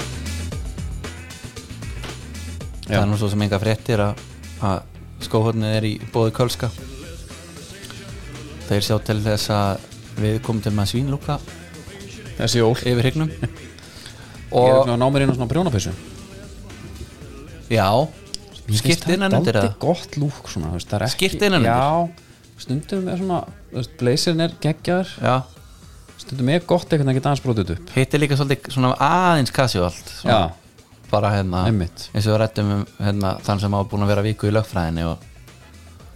C: Það er nú svo sem enga fréttir að, að skóhornið er í bóði kölska Þeir sjá til þess að við komum til með svínlúka
B: þessi jól
C: yfir hrygnum
B: Ég er
C: og
B: svona að ná mér inn á svona prjónapessu
C: já skipt innan undir
B: það
C: það
B: er gott lúk svona, þú veist, það er ekki
C: Skyrta innan
B: Já, stundum er svona þú veist, blazerinn er geggjaður
C: Já,
B: stundum er gott eitthvað að geta aðeins brotið upp
C: hitt er líka svolítið svona aðeins kasjóalt
B: Já,
C: bara hérna
B: Einmitt.
C: eins og við rættum um hérna, þann sem á búin að vera viku í lögfræðinni og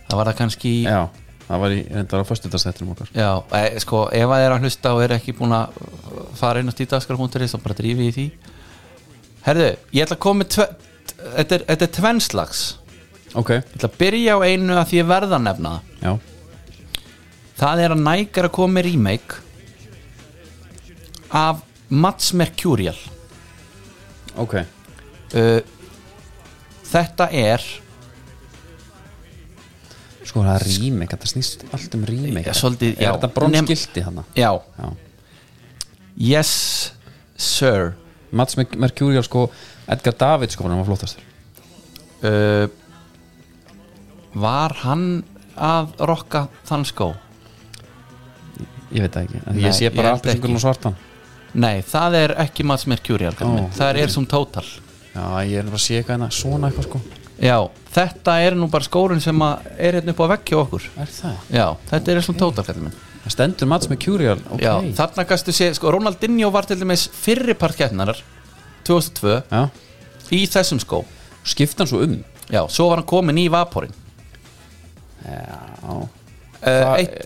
C: það var það kannski já,
B: já, það var í reyndar á föstudagstættinum okkar
C: e, sko, ef að er að hlusta og er ekki búin að uh, fara inn á stítaskar.is og bara drífi í því herðu, ég ætla að koma með tve, t- þetta er, þetta er tvennslags ég
B: Ok,
C: ætla að byrja á einu að því ég verða að nefna það.
B: já,
C: það er að Nike er að koma með remake af Mats Mercurial
B: ok
C: uh, þetta er
B: Sko það er rímek, þetta snýst allt um rímek
C: Já, svolítið, já.
B: Er þetta bronskilti hann?
C: já,
B: Já
C: Yes, sir
B: Mats Merc- Mercurial sko, Edgar David sko, hann var flottastur
C: uh, Var hann að rokka þann skó?
B: Ég veit það ekki, en
C: Nei,
B: ég sé
C: ég
B: bara
C: held
B: allir
C: ekki.
B: og svartan
C: Nei, það er ekki Mats Mercurial
B: Ó,
C: oh, Það er som total
B: Já, ég er bara að sé eitthvað hérna, svona eitthvað sko
C: Já, þetta er nú bara skórun sem að er hérna upp á vegg hjá okkur
B: Er það?
C: Já, þetta er som total kallið minn
B: Það stendur Mats Mercurial okay.
C: Já, þarna gastu sé, sko, Ronaldinho var til dæmis fyrri part keppnarar 2002
B: Já.
C: í þessum skó
B: Skipta hann svo um
C: Já, svo var hann komin í vaporinn
B: Já
C: uh,
B: Það-
C: Eitt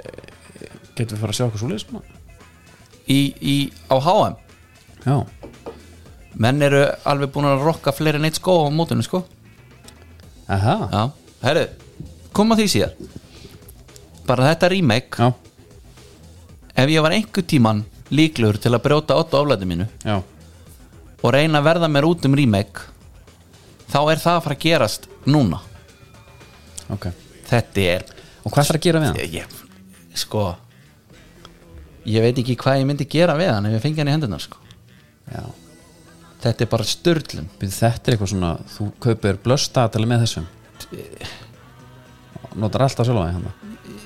B: Getum við fara að sjá okkur svo leið
C: í, í, á HM
B: Já
C: menn eru alveg búin að rokka fleiri en eitt skó á mótunum sko
B: Aha Já,
C: já, herru, koma því síðar bara þetta remake
B: já,
C: ef ég var einhver tíman líklegur til að brjóta 8 oflæti mínu
B: já.
C: og reyna að verða mér út um remake þá er það að fara að gerast núna
B: ok
C: þetta er
B: Og hvað ætlar að gera við hann?
C: ég, ég, sko ég veit ekki hvað ég myndi gera við hann ef ég fengi hann í hendunar sko
B: Já
C: þetta er bara störlum
B: Býðu þetta er eitthvað svona Þú kaupir blöstaðatæli með þessum Notar alltaf sjálfa hérna.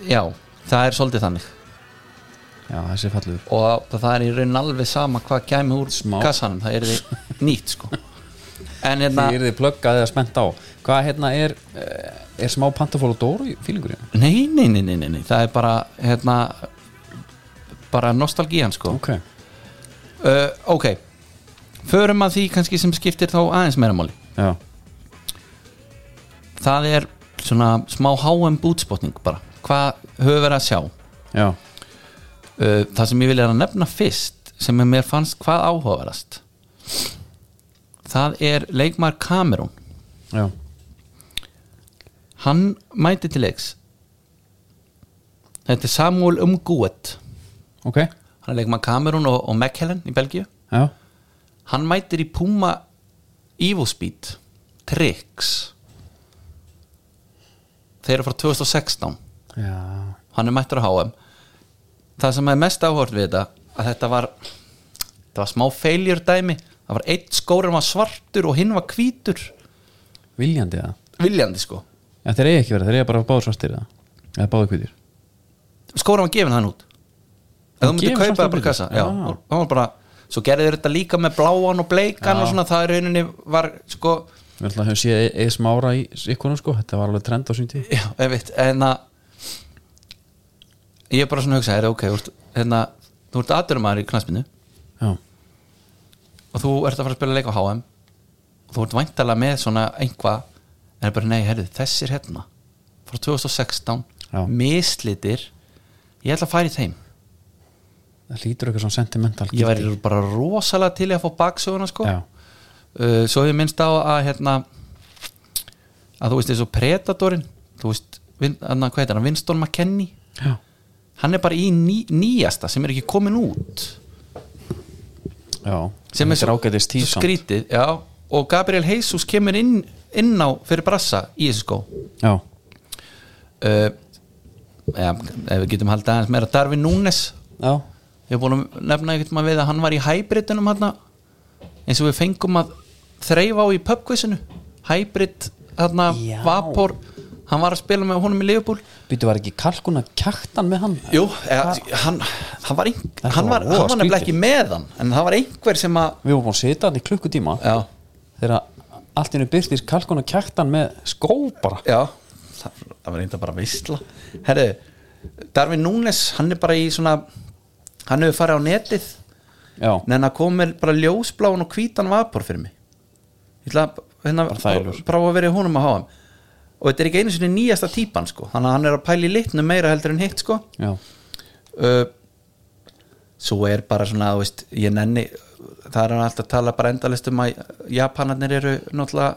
B: í hann
C: já, það er svolítið þannig
B: Já, þessi er fallegur
C: og það er í raun alveg sama hvað kæmi úr
B: Smá.
C: kassanum, það er því nýtt sko en hérna,
B: Því er þið plöggað eða spennt á Hvað hérna er eh, Er smá pantafól og dóru fílingur hérna?
C: nei, nei, nei, nei, nei, nei það er bara hérna bara nostalgían sko
B: Ok
C: uh, ok, förum að því kannski sem skiptir þá aðeins meira máli
B: Já
C: það er svona smá HM bútspotning bara, hvað höfum verið að sjá
B: Já
C: uh, það sem ég vil er að nefna fyrst sem mér fannst hvað áhugaverðast það er leikmar Kamerún
B: Já
C: Hann mæti til leiks Þetta er Samuel Umguet
B: Ok
C: Hann er leikmann Kamerún og, og McHellen í Belgíu
B: Já
C: Hann mætir í Puma Evil Speed Tricks Þeir eru frá 2016
B: Já
C: Hann er mættur á HM Það sem er mest áhort við þetta að þetta var þetta var smá failure dæmi það var eitt skórum var svartur og hinn var hvítur
B: viljandi það
C: viljandi sko
B: en þeir eiga ekki verið, þeir eiga bara að báða svartir eða, eða báða kvítir
C: skóra var gefin hann út eða þú myndir
B: gefin
C: kaupa
B: svartan
C: það bara í
B: bíl?
C: kassa já,
B: Já.
C: hann var bara, svo gerði þeir þetta líka með bláan og bleikan og svona það í rauninni var sko,
B: við ætlum að höfum séð e- eða smára í ykkurinn sko, þetta var alveg trend á sín tíð
C: já, ef veit en að ég er bara svona að hugsa, er ok þú ert, hérna, þú ert aðdurumæður í knaspinu
B: já,
C: og þú ert að fara að spila leik á HM og þú ert væntalega með svona einhva en er bara nei, herrðu, þessir hérna frá 2016,
B: Já.
C: mislitir ég ætla að færi þeim
B: það lítur eitthvað svona sentimental
C: ég
B: gildi.
C: væri bara rosalega til í að fá baksöguna sko
B: já,
C: uh, svo hef ég minnst á að hérna að þú veist eins og Predatorin þú veist, vin, anna, hvað heitir hann, Winston McKenney
B: já,
C: hann er bara í ný, nýjasta sem er ekki komin út
B: já
C: sem er
B: Þetta ágætis tíð
C: svo
B: samt.
C: skrítið já, og Gabriel Jesus kemur inn, inn á fyrir brassa í þessu skó
B: já,
C: uh, ja, ef við getum haldið aðeins meira Darvin Núnes
B: já,
C: ég hef búin að nefna ekkert maður við að hann var í hybridunum hann eins og við fengum að þreyfa á í pubquizinu hybrid hann
B: Já.
C: vapor hann var að spila með honum í Liverpool
B: býtu var ekki kalkun að kjartan með hann
C: Jú, eða, hann, hann var, ein,
B: Þetta
C: hann var,
B: var voða
C: hann var nefnilega
B: skrítið.
C: ekki með hann en það var einhver sem að
B: við vorum búin að setja hann í klukkutíma
C: já,
B: þegar allt í hennu byrtist kalkun að kjartan með skó bara
C: já, það, það var einhver bara veistla Herru, Darvin Núnes hann er bara í svona hann hefur farið á netið
B: já,
C: en það komir bara ljósbláun og hvítan vapor fyrir mig ég ætla að hérna,
B: Bara þægilegur.
C: prófa að vera í honum að háa og þetta er ekki einu sinni nýjasta típan sko. þannig að hann er að pæla í litnum meira heldur en hitt sko.
B: já,
C: uh, svo er bara svona þú veist, ég nenni það er hann alltaf að tala bara endalist um að Japanarnir eru náttúrulega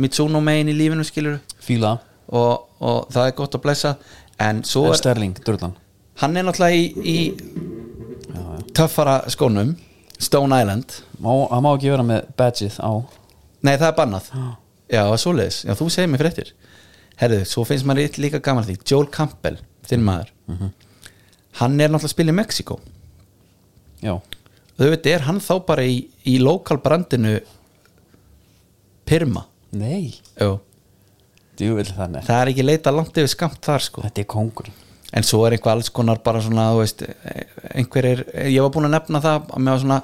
C: Mitsuno megin í lífinu skilur
B: fíla
C: og, og það er gott að blessa en svo
B: en
C: er,
B: Sterling, Durlan
C: hann er náttúrulega í, í töffara skónum Stone Island
B: Má- hann má ekki vera með badgeið á
C: Nei, það er bannað Já, svoleiðis, já, þú segir mér fréttir Herðu, svo finnst maður eitt líka gaman að því Joel Campbell, þinn maður Hann er náttúrulega að spila í Mexiko
B: já,
C: Auðvitað er hann þá bara í, í lokal brandinu Pirma
B: nei,
C: Jú.
B: djúvill þannig
C: Það er ekki leita langt yfir skamt þar sko
B: þetta er kongurinn
C: En svo er einhver alls konar bara svona þú veist, einhverjir, ég var búinn að nefna það að mér var svona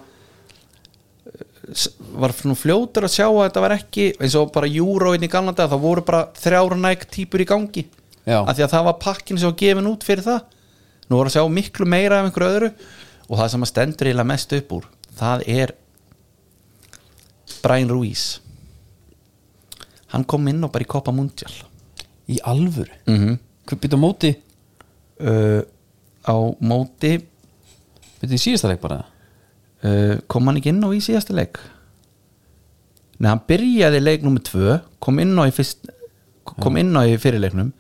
C: s- var svona fljótur að sjá að þetta var ekki eins og bara júróin í galna dag það voru bara þrjára næg típur í gangi
B: Já.
C: af því að það var pakkin sem var gefin út fyrir það nú voru að sjá miklu meira af einhverju öðru og það sem að stendur eiginlega mest upp úr það er Brian Ruiz hann kom inn og bara í Copa Mundial
B: í alvöru
C: mm -hmm.
B: hvað byrja á móti,
C: uh, á móti
B: byrja í síðasta leik bara
C: uh, kom hann ekki inn á í síðasta leik Nei, hann byrjaði leik nummer tvö, kom inn á í fyrst kom inn á í fyrirleiknum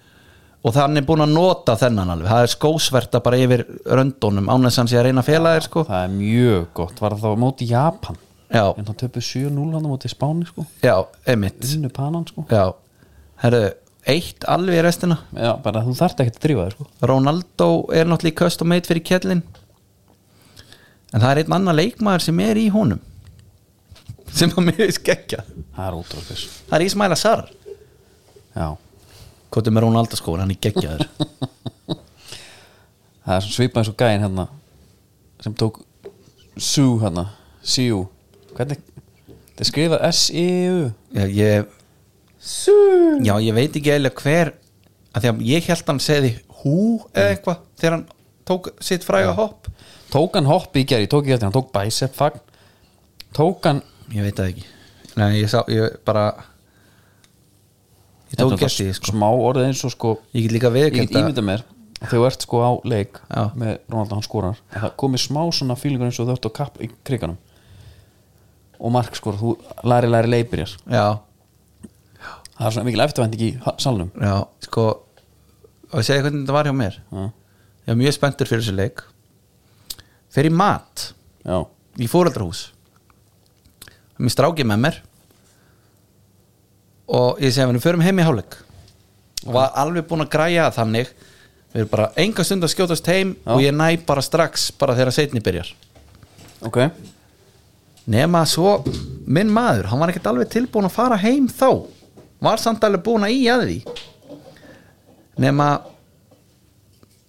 C: og þannig búin að nota þennan alveg það er skósverta bara yfir röndunum án þess að hann sé að reyna að fela þér sko
B: það er mjög gott, var það á móti Japan
C: já,
B: en það töpu 7-0 hann á móti Spáni sko
C: já, einmitt
B: unnu panan sko
C: já, herru, eitt alveg í restina
B: já, bara þú þarft ekkert að drífa þér sko
C: Ronaldo er náttúrulega í custom made fyrir kjellin en það er einn annar leikmaður sem er í honum sem að mér er skekkja
B: það er ótrúlega
C: það er Ísmæla Sarr
B: já,
C: Kvotum er Rónalda skóin, hann er geggjaður
B: það er svona svipað eins og gæin hérna sem tók Sú hérna, Siu hvernig, það er skrifað E S-I-U
C: ég, ég,
B: Sú
C: Já, ég veit ekki eiginlega hver að Því að ég held hann segði hú eða eitthvað þegar hann tók sitt fræga hopp
B: tók hann hopp í gerð, ég tók ekki eftir hann tók bicep fagn tók hann,
C: Ég veit það ekki Nei, ég sá, ég bara Ég tók
B: Þetta
C: gert
B: er
C: því,
B: bara
C: sko
B: smá orðið eins og sko
C: Ég get líka
B: ég get
C: viðkjönda
B: ímynda mér að þegar þú ert sko á leik
C: Já.
B: með Ronaldo hann skorar að það komið smá svona fílingur eins og þú ert á kapp í kriganum og mark skor, þú læri læri leipirjar
C: Já,
B: það er svona mikil eftirvending í ha- salnum
C: já, sko Og ég segi hvernig þetta var hjá mér
B: já,
C: Ég var mjög spenntur fyrir þessu leik Fyrir mat
B: já,
C: í fóreldrahús mér stráki með mér og ég segi að við förum heim í hálfleik og var alveg búin að græja það þannig við erum bara enga stund að skjótast heim
B: Já.
C: og ég næ bara strax bara þegar setni byrjar
B: ok
C: nema svo minn maður, hann var ekkert alveg tilbúin að fara heim þá var samt alveg búin að í að því nema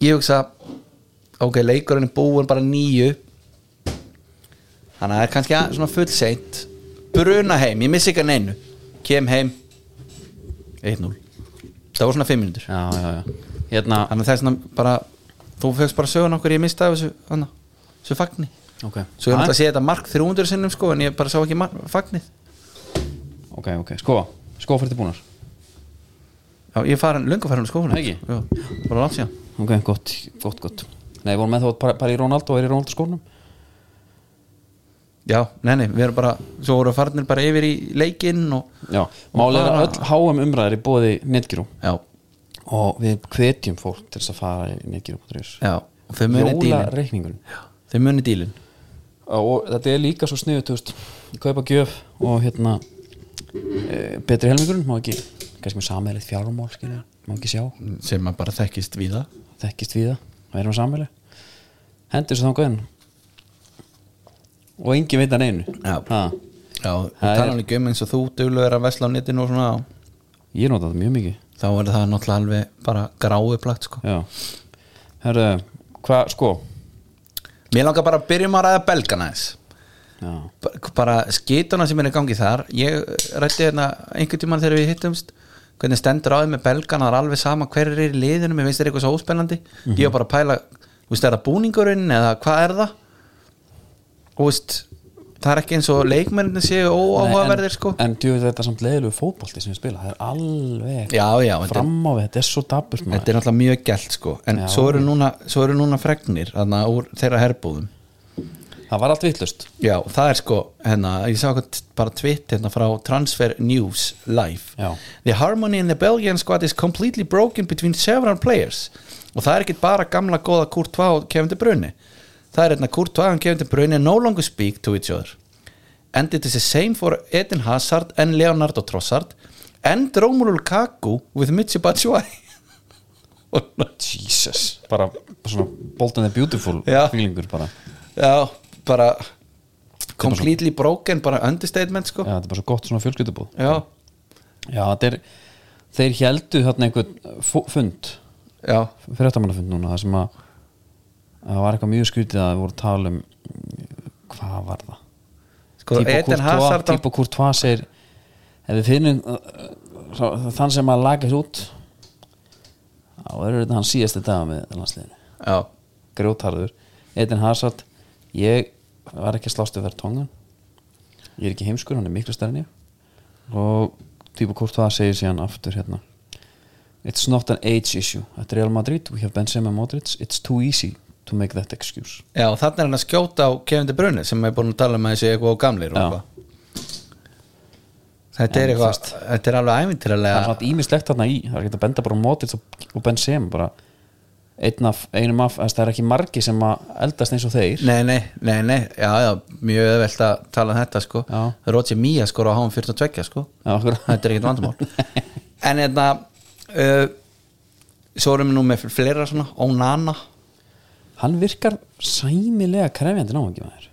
C: ég hugsa ok, leikurinn er búin bara nýju þannig að það er kannski að, svona fullseint bruna heim, ég missi ekki að neinu kem heim 1-0 það var svona 5 minútur
B: já, já, já Hérna,
C: þannig að það er svona bara þú fegst bara sögun okkur ég mistaði þessu, hana, þessu fagni
B: ok
C: svo ég
B: Aðeins-
C: náttúrulega að sé þetta mark 300 sinnum sko en ég bara sá ekki mark, fagnið
B: Ok, ok, sko, sko fyrir tilbúnar
C: já, ég er farin, löngu farin úr skófunum
B: Ekki?
C: já, bara langt síðan
B: Ok, gott, gott, gott Nei, vorum með þá bara, bara í Ronaldo og er í Ronaldo skónum
C: já, nei, nei, við erum bara svo voru farnir bara yfir í leikinn og
B: Já, málið er að
C: bara-
B: öll HM umræðar í bóði Netgyru
C: já,
B: og við hvetjum fólk til þess að fara í Netgyru.is
C: já og þau muni dílin
B: Jólareikningun
C: þau muni dílin
B: og þetta er líka svo sniðu, þú veist kaupa gjöf og hérna e, betri helmingurinn, má ekki kannski með samvegilegt fjármál, skilja má ekki sjá,
C: sem að bara þekkist víða
B: þekkist við það og erum samvegilegt hendur þessu þangað inn og engin veit að neinu
C: Já.
B: Ha.
C: já, þú
B: Það er-
C: talar hann ekki um eins og þú duglu er að vesla á netinu og svona
B: ég nota það mjög mikið
C: þá er það náttúrulega alveg bara gráu plagt sko
B: Já Herru, hvað, sko
C: mér langar bara að byrjum að ræða belgana eins
B: Já,
C: Ba- bara skituna sem er í gangi þar ég rætti hérna einhvern tímann þegar við hittumst hvernig stendur á því með belgana það er alveg sama hver er í liðinu mér finnst þeir eitthvað svo óspennandi
B: Mhm.
C: ég var bara að pæla, þú veist, er það búningurinn eða hvað er það þú veist, það er ekki eins og leikmennin séu óáhugaverðir sko
B: En djúið þetta samt leiðilegu fótbolti sem við spila Það er alveg
C: já, já, þetta,
B: fram á við Þetta er svo daburt
C: er- þetta
B: maður
C: er náttúrulega mjög gælt sko en
B: Já.
C: svo eru, núna, svo eru núna fregnir þarna úr þeirra herbúðum
B: Það var allt vittlust
C: já, það er sko, hérna, ég sá eitthvað t- bara tvitt hérna frá Transfer News Live
B: Já.
C: The harmony in the Belgian squad is completely broken between several players og það er ekkit bara gamla góða Courtois og Kevin De Bruyne það er hérna Courtois og Kevin De Bruyne no longer speak to each other and it is the same for Eden Hazard and Leonardo Trossard and Romelu Lukaku with Michy Batshuayi
B: Jesus Bara svona Bold and the Beautiful
C: Já.
B: Fílingur bara
C: já, bara completely broken, bara understatement sko
B: Já, þetta er bara svo gott svona fjölskyldubúð
C: já,
B: Já, þetta er Þeir heldu þarna einhvern fó- fund
C: já,
B: fyrirtamannafund núna það sem að það var eitthvað mjög skrítið að við vorum að tala um mm, hvað var það
C: Sko, Eden Hazard á-
B: Típo Courtois segir ef við finnum uh, sá- þann sem að lagast út þá verður þetta hann síðasti dag með landsliðinu,
C: já
B: grjótarður Eden Hazard, ég var ekki að slástu verið tóngan ég er ekki heimskur, hann er miklu stærn ég og Típo Courtois segir síðan aftur hérna It's not an age issue At Real Madrid we have Benzema Modric It's too easy to make that excuse
C: Já, þannig er hann að skjóta á Kevin De Bruyne sem er búin að tala um að þessi eitthvað og gamlir og
B: Já.
C: eitthvað Þetta er
B: En
C: eitthvað,
B: fyrst-
C: þetta er alveg
B: Það er
C: ævintilega
B: svona ímislegt þarna í Það er ekki að benda bara á Modric og, og Benzema bara einn af, einum af þess, það er ekki margi sem að eldast eins og þeir
C: Nei, nei, nei, nei, já, já, mjög öðvelt að tala um þetta sko
B: Já.
C: Roger Mía skor á háum 42 sko
B: Já, okkur.
C: Þetta er ekkert vandamál En þetta uh, Svo erum við nú með fleira svona Ónana
B: Hann virkar sæmilega krefjandi návangi maður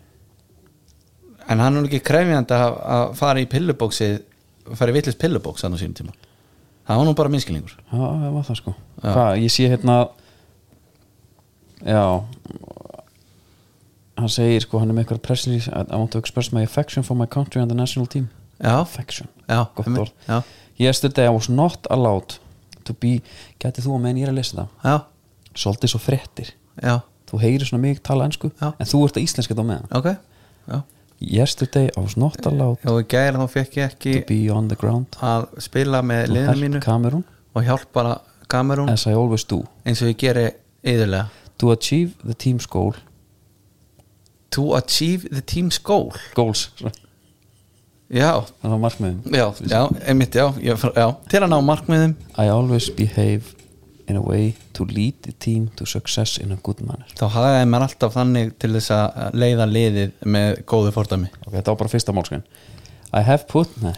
C: En hann er nú ekki krefjandi að, að fara í pillubóksið fara í vitlis pillubóks þannig á sínum tíma Það var nú bara minnskilingur
B: Já, það var það sko Hvað, ég sé hérna Já Hann segir sko, hann er með eitthvað presslýs I I want to express my affection for my country and the national team
C: Já,
B: Affection
C: já,
B: gott
C: einmitt,
B: orð
C: já.
B: yesterday I was not allowed to be gæti þú að meðan ég er að lesa það
C: já,
B: svolítið svo fréttir
C: já
B: þú heyrir svona mig tala ensku
C: Já.
B: en þú ert að íslenska þá meðan
C: ok já.
B: yesterday I was not allowed
C: og í gæri þá fekk ég
B: to
C: ekki
B: be on the ground
C: að spila með
B: to
C: liðinu mínu
B: help Cameroon
C: og hjálpa kamerún
B: as I always do
C: eins og ég geri yðurlega
B: to achieve the team's goal
C: to achieve the team's goal
B: goals, þannig
C: já,
B: að markmiðum
C: já, já, einmitt, já, já, já til að ná markmiðum
B: I always behave in a way to lead the team to success in a good manner
C: þá hagaði maður alltaf þannig til þess að leiða liðið með góðu fordami
B: ok, þetta var bara fyrsta málskan I have put nei,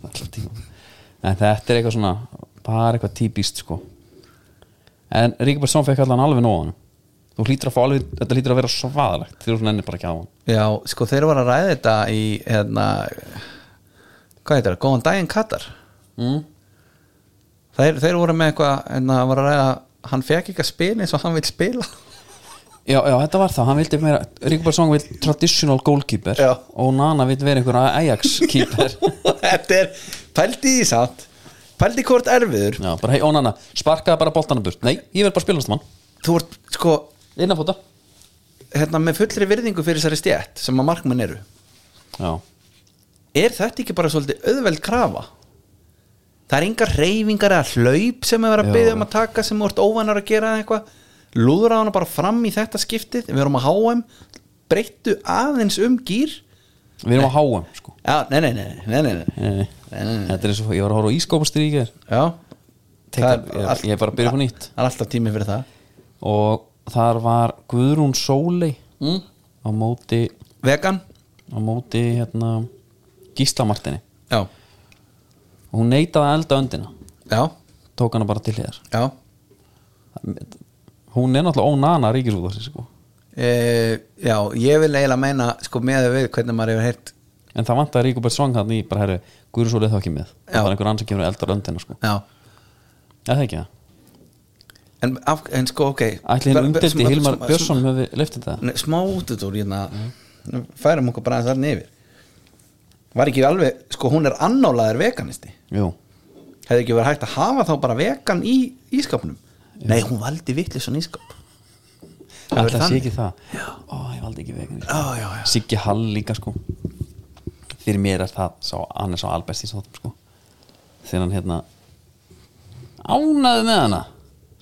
B: allan tímann. en þetta er eitthvað svona bara eitthvað típist sko en Ríkabjörnsson fekk allan alveg nóðan þú hlýtur að fá alveg, þetta hlýtur að vera svaðalegt þegar þú nennir bara ekki á hann
C: já, sko þeir voru að ræða þetta í hérna hvað heitir það, góðan daginn Katar
B: mm.
C: þeir, þeir voru með eitthvað en það var að ræða hann fekk ekki að spila eins og hann vil spila
B: Já, já, þetta var það, hann vildi meira Ríkubær Song vill traditional goalkeeper
C: Já.
B: og Nana vill vera einhver Ajax keeper
C: þetta er pældi í satt pældi hvort erfiður
B: Já, bara hei, ó Nana, sparkaði bara boltana burt Nei, ég verð bara að spila hans mann,
C: þú ert sko
B: innanfóta
C: hérna, með fullri virðingu fyrir þessari stjætt sem að markmenn eru
B: Já,
C: er þetta ekki bara svolítið auðveld krafa það er engar reyfingar eða hlaup sem er verið
B: Já.
C: að byggja um að taka sem þú ert óvanar að gera eða eitthvað lúðra hana bara fram í þetta skiptið við erum að HM, breyttu aðeins um gýr
B: við erum á HM sko
C: já, nei, nei, nei, nei, nei, nei.
B: Nei, nei.
C: nei, nei.
B: Þetta er eins og, ég var að horfa á ískópastríkir
C: já
B: Teka-
C: Það
B: ég- ég er bara að byrja upp á nýtt.
C: það er alltaf tími fyrir það
B: og þar var Guðrún Sóley mm. á móti
C: vegan,
B: á móti hérna Gíslamartinni
C: já,
B: og hún neitaði að elda öndina
C: já,
B: tók hana bara til hér
C: já
B: hún er náttúrulega ónana ríkisúðarsi sko
C: e, já, ég vil eiginlega meina sko með við hvernig maður hefur heyrt
B: en það vantaði Ríkubert Svang hann í bara herri Guðrún Sóley er þá ekki með
C: Já.
B: það var einhver annar sem kemur og eldar öndina sko
C: já,
B: eða það ekki það
C: en, af, en sko, ok
B: ætli hinn
C: Bara- bara-
B: umdelti
C: smá-
B: Hilmar
C: smá-
B: Björnsson með við leftið það
C: Nei, smá útudúr hérna mm. færum okkur bara aðeins þarna yfir var ekki alveg sko hún er annálaðir veganisti
B: jú
C: hefði ekki verið hægt að hafa þá bara vegan í ískapnum nei hún valdi vitlisson ískap Það verður
B: alltaf sé
C: þannig.
B: ekki það ó ég valdi ekki vegan
C: Já, já, já.
B: Siggi Hall líka sko fyrir mér er það sá, hann er svo albest í þáttum sko þegar hann hérna ánaði með hana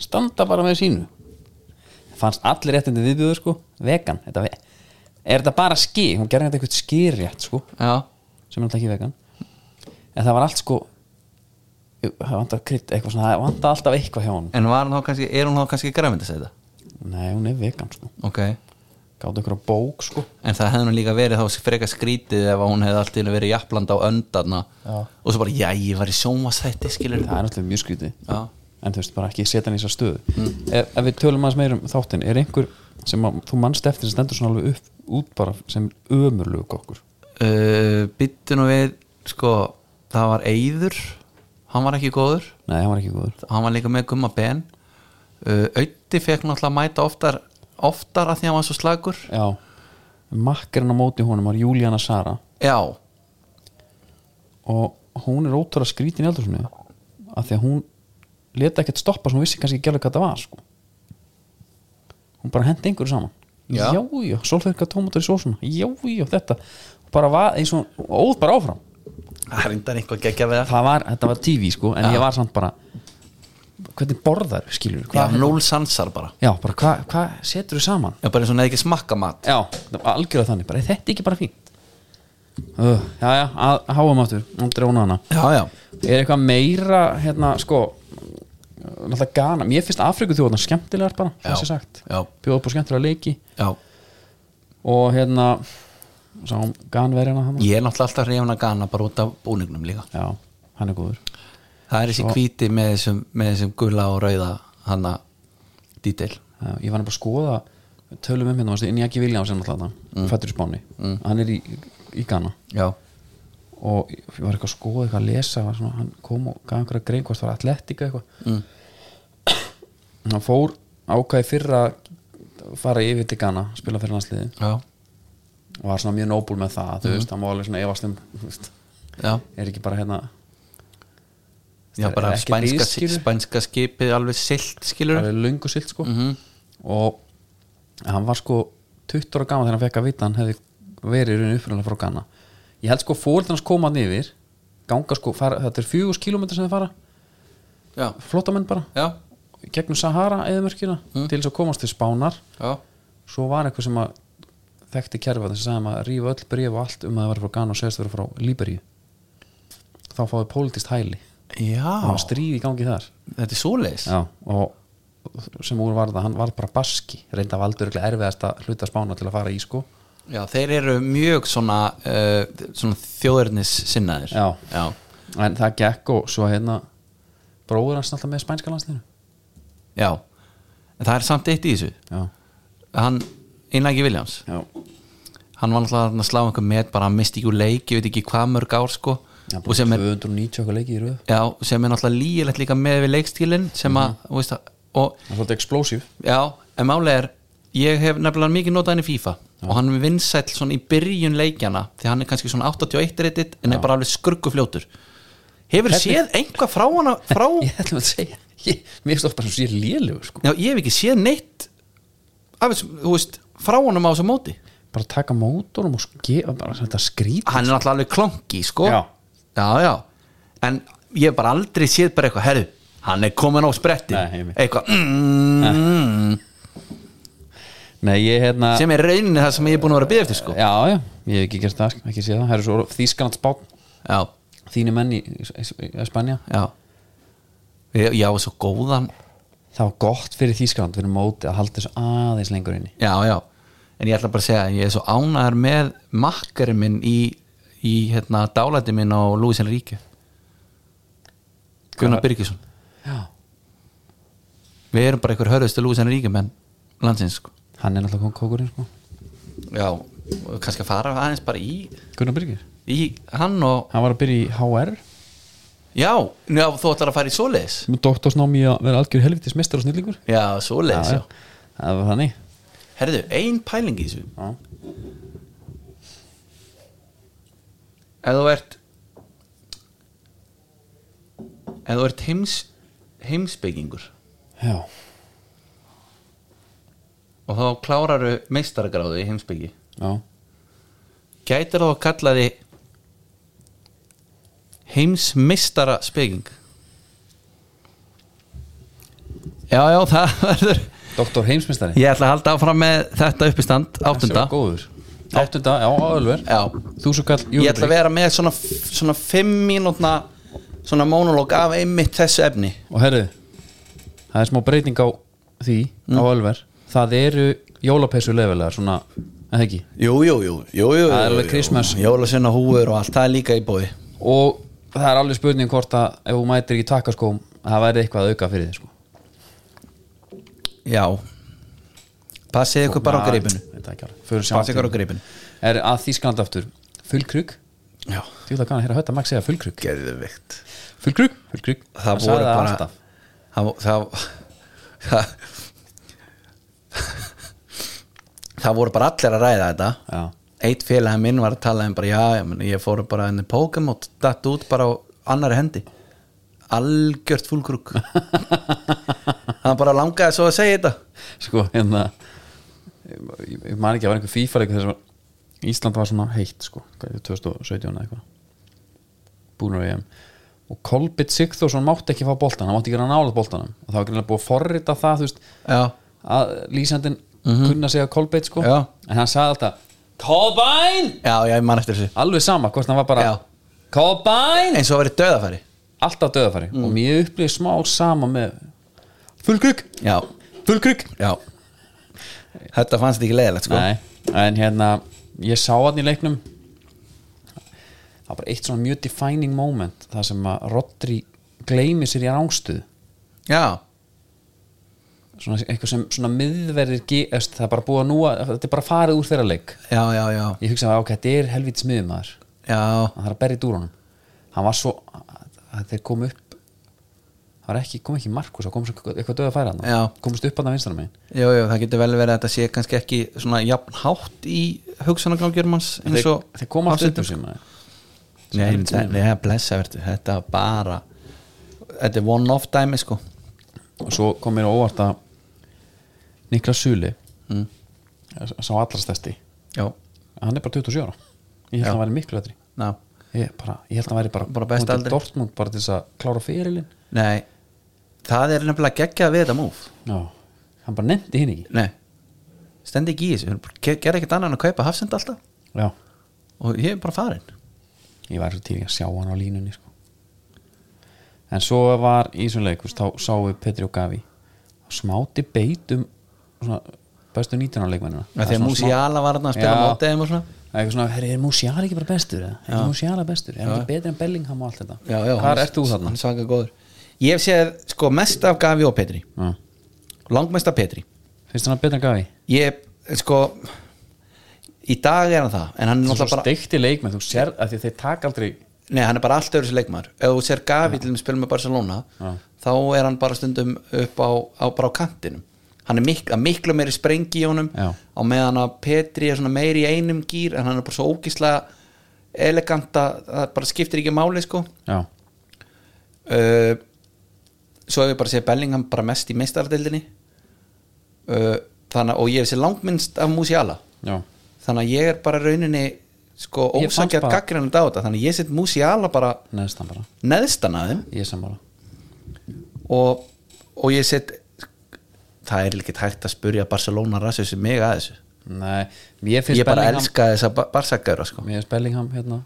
B: standa bara með sínu fannst allir réttindi viðbjöður sko vegan þetta ve er þetta bara ski hún gerði þetta eitthvað skýrjætt sko
C: já,
B: sem er alltaf ekki vegan en það var allt sko jú, það vantar krydd eitthvað svona það vantar alltaf eitthvað hjá hann
C: en var hún þá kannski, er hún þá kannski græmynd að segja þetta
B: nei hún er vegan sko
C: ok,
B: gáttu ykkur á bók sko
C: en það hefði nú líka verið þá frekar skrítið ef hún hefði allt í henni verið jafnland á öndarna já. og svo bara, já, ég var í sjómasætti skilur
B: það er náttúrulega mjög skrítið
C: Já.
B: en þú veist bara ekki setja hann í þessar stöðu ef, ef við tölum aðeins meira um þáttinn er einhver sem að, þú mannst eftir sem stendur svona alveg upp, út bara sem ömurlegu kokkur
C: uh, byttu nú við sko, það var Eyður hann var ekki góður
B: nei, hann var ekki góður
C: hann var líka með gumma ben uh, Ötti fekk náttúrulega að mæta oftar oftar að því að hann var svo slagur
B: já, makkarinn á móti honum var Júlíana Sara
C: já,
B: og hún er ótrúlega skrítin í eldursunni af því að hún leta ekkert stoppa sem hún vissi kannski ekki alveg hvað það var sko. hún bara hendi einhverju saman já,
C: Já.
B: já, sólferka tómatur í sósuna já, já, þetta bara var eins og og óð bara áfram
C: það er reyndar einhver geggja við það
B: það var, þetta var TV sko en ég var samt bara hvernig borðar skilur
C: já,
B: hvað,
C: núl sansar bara
B: já, bara hvað hva setur þú saman
C: já, bara eins og neð ekki smakka mat
B: já, það var algjörlega þannig, bara er þetta ekki bara fínt uh, já, já, að háum áttur hún dróna hana
C: já, já,
B: er eitthvað meira hérna, sko náttúrulega gana, mér finnst Afriku þjóðan skemmtilegar bara,
C: Já.
B: þessi sagt
C: Já.
B: bjóða upp á skemmtilega leiki
C: já
B: og hérna sáum ganverjana hérna, hann
C: ég er náttúrulega alltaf hrifin að gana bara út af búningnum líka
B: já, hann er góður
C: það er þessi hvíti með þessum, með þessum gula og rauða hanna dítil
B: Já, Eh, ég var nefnilega að skoða tölum um hérna, en ég ekki vilja á sér náttúrulega mm. fættur í spáni, hann er í, í Ghana
C: já,
B: og ég var eitthvað að skoða eitthvað að lesa var svona, hann kom og gaf einhverja grein hvort það var atletika eitthvað mm. hann fór ákvæði fyrra að fara yfir til Ghana spila fyrir landsliði
C: já,
B: og var svona mjög nóbul með það
C: Mm.
B: þú veist, hann var alveg svona efast um þú veist,
C: já
B: er ekki bara hérna
C: Já,
B: Er-
C: bara
B: er ekkert
C: spænska,
B: viðskilur?
C: spænska Mhm. skipið alveg silt skilur
B: alveg löngu silt sko og hann var sko 20 ára gaman þegar hann fekk að vita að hann hefði verið í rauninu upprunlega frá Ghana ég held sko fóreldur hans koma hann yfir ganga sko, fara, þetta er fjögus kilómetri sem þið fara
C: Já,
B: flótamenn bara,
C: já,
B: gegnum Sahara eðumörkina, til þess að komast til Spánar
C: já
B: svo var eitthvað sem að þekkti kerfa þess að maður rífa öll bréf og allt um að það var frá Ghana og segist vera frá Líberíu þá fáið politist hæli það
C: Já,
B: var stríð í gangi þar
C: þetta er svoleiðis
B: Já, og sem úr var það, hann var bara baski reynda valdur ykkur erfiðasta hluta spána til að fara í sko
C: Já, þeir eru mjög svona, uh, svona þjóðurnis sinnaðir
B: Já.
C: já,
B: en það gekk og svo hérna bróður hans alltaf með spænska landsliðinu
C: já. En það er samt eitt í þessu
B: Já,
C: Hann, Einagi Williams
B: já,
C: Hann var náttúrulega þarna að slá einhver met bara hann misti ekki úr leik, ég veit ekki hvað mörg ár sko
B: Já,
C: og sem er
B: 290 okkar leiki í röð
C: já, sem er náttúrulega lígilegt líka með við leikstílinn sem
B: Mhm.
C: að, mm veist að og,
B: Það er svolítið explosiv
C: já, en málega er ég hef nefnilega mikið notað hann í FIFA og hann er vinsæll svona í byrjun leikjana því hann er kannski svona 81 reytitt en er bara alveg skurkufljótur hefur séð einhvað frá hana frá,
B: Ég ætlum að segja ég, Mér stóð bara sem sé lélegur sko.
C: já, ég hef ekki séð neitt af þessum, þú veist, frá honum á þessu móti
B: Bara taka mótorum og gefa bara þetta skrít
C: hann er náttúrulega alveg klonki, sko
B: Já.
C: já, já. en ég hef bara aldrei séð bara eitthvað, herru, hann er komin á spretti
B: Nei, einmitt.
C: eitthvað mm,
B: Nei, ég hérna
C: sem er rauninni það sem ég er búin að vera að byggja eftir, sko
B: Já, já, ég hef ekki gert það, sko, ekki séð það Það eru svo þýskanat spán
C: já,
B: Þínu menn í, í, í, í Spanja
C: já ég, ég á svo góðan
B: Það var gott fyrir Þýskaland fyrir móti að halda þessu aðeins lengur inni
C: já, já, en ég ætla bara að segja ég er svo ánæður með makkari minn í, í hérna, dálæti minn á Lúisin Ríki Gunnar Byrgisson
B: Já.
C: við erum bara einhver hörðustu Lúisin Ríki menn landsins, sko
B: Hann er náttúrulega kókurinn sko
C: Já, og kannski að fara aðeins bara í,
B: Gunnar Byrgir,
C: í hann og
B: hann var að byrja í HR
C: Já, já þú ætlar að fara í svoleiðis
B: með doktorsnám í að vera algjör helvitis mestar og snillingur
C: Já, svoleiðis, já,
B: það var þannig
C: Herðu, ein pæling í þessu
B: Já.
C: Ef þú ert Ef þú ert heims, heimsbyggingur
B: Já,
C: og þá kláraru meistaragráðu í heimsbyggi
B: já,
C: Gætir þá að kalla þið heimsmeistara speking Já, já, það verður
B: doktor heimsmestari
C: Ég ætla að halda áfram með þetta uppistand áttunda
B: góður Áttunda, já, áðurver
C: Já.
B: Þú svo kall
C: Ég ætla að vera með svona, svona fimm mínútna svona monolog af einmitt þessu efni
B: Og herðu, það er smá breyting á því á
C: Mm.
B: Ölver Það eru jólapessu lefilegar svona, eða ekki
C: Jú, jú, jú, jú, jú
B: Það er alveg Christmas.
C: Jólasunna húfur og allt, það er líka í bóði
B: Og það er alveg spurning hvort að ef þú mætir ekki takkaskóm að það væri eitthvað að auka fyrir þið sko
C: Já Passið ykkur bara á greipinu Passið ykkur á
B: greipinu
C: greipinu
B: Er að Þískland aftur fullkrug
C: Já,
B: Þú ætla kannan að höfða Max segja fullkrug
C: gerðu veikt
B: Fullkrug, fullkrug
C: Það voru bara Það, það, það, það voru bara allir að ræða þetta
B: Já,
C: eitt félagi minn var að tala um bara já, ég, meni, ég fór bara enni Pokémon datt út bara á annari hendi algjört fúlkrúk hann bara langaði svo að segja þetta
B: sko hérna Ég ég man ekki að var einhver FIFA leikur þess að Ísland var svona heitt sko hvað er það, 2017 eða eitthvað Búnur EM Og Kolbit Sigþórsson mátti ekki fá boltan Hann mátti ekki að nála boltanum Og það var greinlega búið að forrita það þú veist
C: já,
B: að lýsandinn kunna segja Kolbit sko
C: Mhm. Já.
B: En hann sagði alltaf Kolbein
C: já, já, ég man eftir þessu
B: alveg sama hvort hann var bara
C: Já. Eh.
B: Kolbein
C: eins og að vera döðafæri
B: alltaf döðafæri
C: Mm.
B: og mér upplýði smá sama með fullkrygg
C: já,
B: fullkrygg
C: já þetta fannst ekki leiðilegt sko
B: nei en hérna ég sá hann í leiknum það var bara eitt svona mjög defining moment það sem að Rodri gleymi sér í rangstuð
C: já,
B: svona eitthvað sem svona miðverðir ge- eftir, það er bara búið að núa þetta er bara farið úr þeirra leik
C: já, já, já
B: ég hugsaði að ok, þetta er helvítis miðumæður
C: já,
B: hann þarf að berja í dúrunum hann var svo að þeir kom upp það var ekki, kom ekki Markus það kom svo eitthvað döð að færa
C: Já.
B: hann komist upp hann að vinstana megin
C: já, já, það getur vel verið að þetta sé kannski ekki svona jafn hátt í hugsanagrangjörn manns eins
B: þeir,
C: og
B: þeir kom allt upp
C: Ársætur.
B: úr sér maður
C: Nei, nei, nei, blessa verður Þetta var bara Þetta er one-off dæmi sko
B: og svo kom mér á óvart að Niklas Suli
C: Mm.
B: sá allra stærsti
C: Já,
B: hann er bara 27 ára ég held að hann væri miklu letri
C: ná,
B: ég, bara, ég held að hann væri bara,
C: Bara besta
B: kominn til
C: aldri.
B: Dortmund bara til þess að klára fyrirlin
C: nei Það er nefnilega geggjað við þetta múf
B: Já. hann bara nefndi hinn ekki
C: Nei, stendi ekki í þessu Ger- Gerði ekkert annað en að kaupa hafsend alltaf
B: Já.
C: Og ég er bara farinn
B: ég væri svo til í að sjá hann á línunni sko. en svo var í þessum leik þú veist, þá sáum við Petri og Gavi smáti beit um svona, bestu 19 ára leikmennina
C: Þegar
B: svona smá-
C: Musiala var þarna að spila
B: Já.
C: mótið og svona
B: Það er eitthvað svona, herri, er Musiala ekki bara bestur? eða? Er Musiala bestur? Er hann ekki betri en Bellingham og allt þetta?
C: já, já,
B: Hvar ert þú þarna?
C: Hann er svaka góður Ég hef séð sko mest af Gavi og Petri
B: Já.
C: Langmest af Petri
B: Finnst hann betri en Gavi?
C: Ég, sko Í dag er hann það En hann er
B: Þú svo
C: náttúrulega bara
B: steikti leikmenn, þú sér að því að þeir taka aldrei
C: Nei, hann er bara allt öðru sér leikmaður Ef þú sér Gavi til að spila með Barcelona
B: Já.
C: þá er hann bara stundum upp á, á bara á kantinum hann er mik að miklu meiri sprengi í honum
B: Já.
C: á meðan að Petri er svona meiri í einum gýr en hann er bara svo ógislega elegant að það bara skiptir ekki máli sko
B: já,
C: uh, svo hefur bara séð Bellingham bara mest í meistaradeildinni uh, þannig að og ég hef séð langminnst af Musiala
B: já,
C: þannig að ég er bara rauninni sko
B: Ég fannst
C: ósakjart
B: bara-
C: gaggrinandi á þetta þannig að ég set Musiala bara
B: neðstan bara
C: neðstan að þeim
B: ég sammála
C: og, og ég set það er ekki hægt að spurja Barcelona rassu sem mig að þessu
B: nei, ég finnst
C: ég bara
B: Bellingham-
C: elska þessa barsakaður sko.
B: mér finnst Bellingham hérna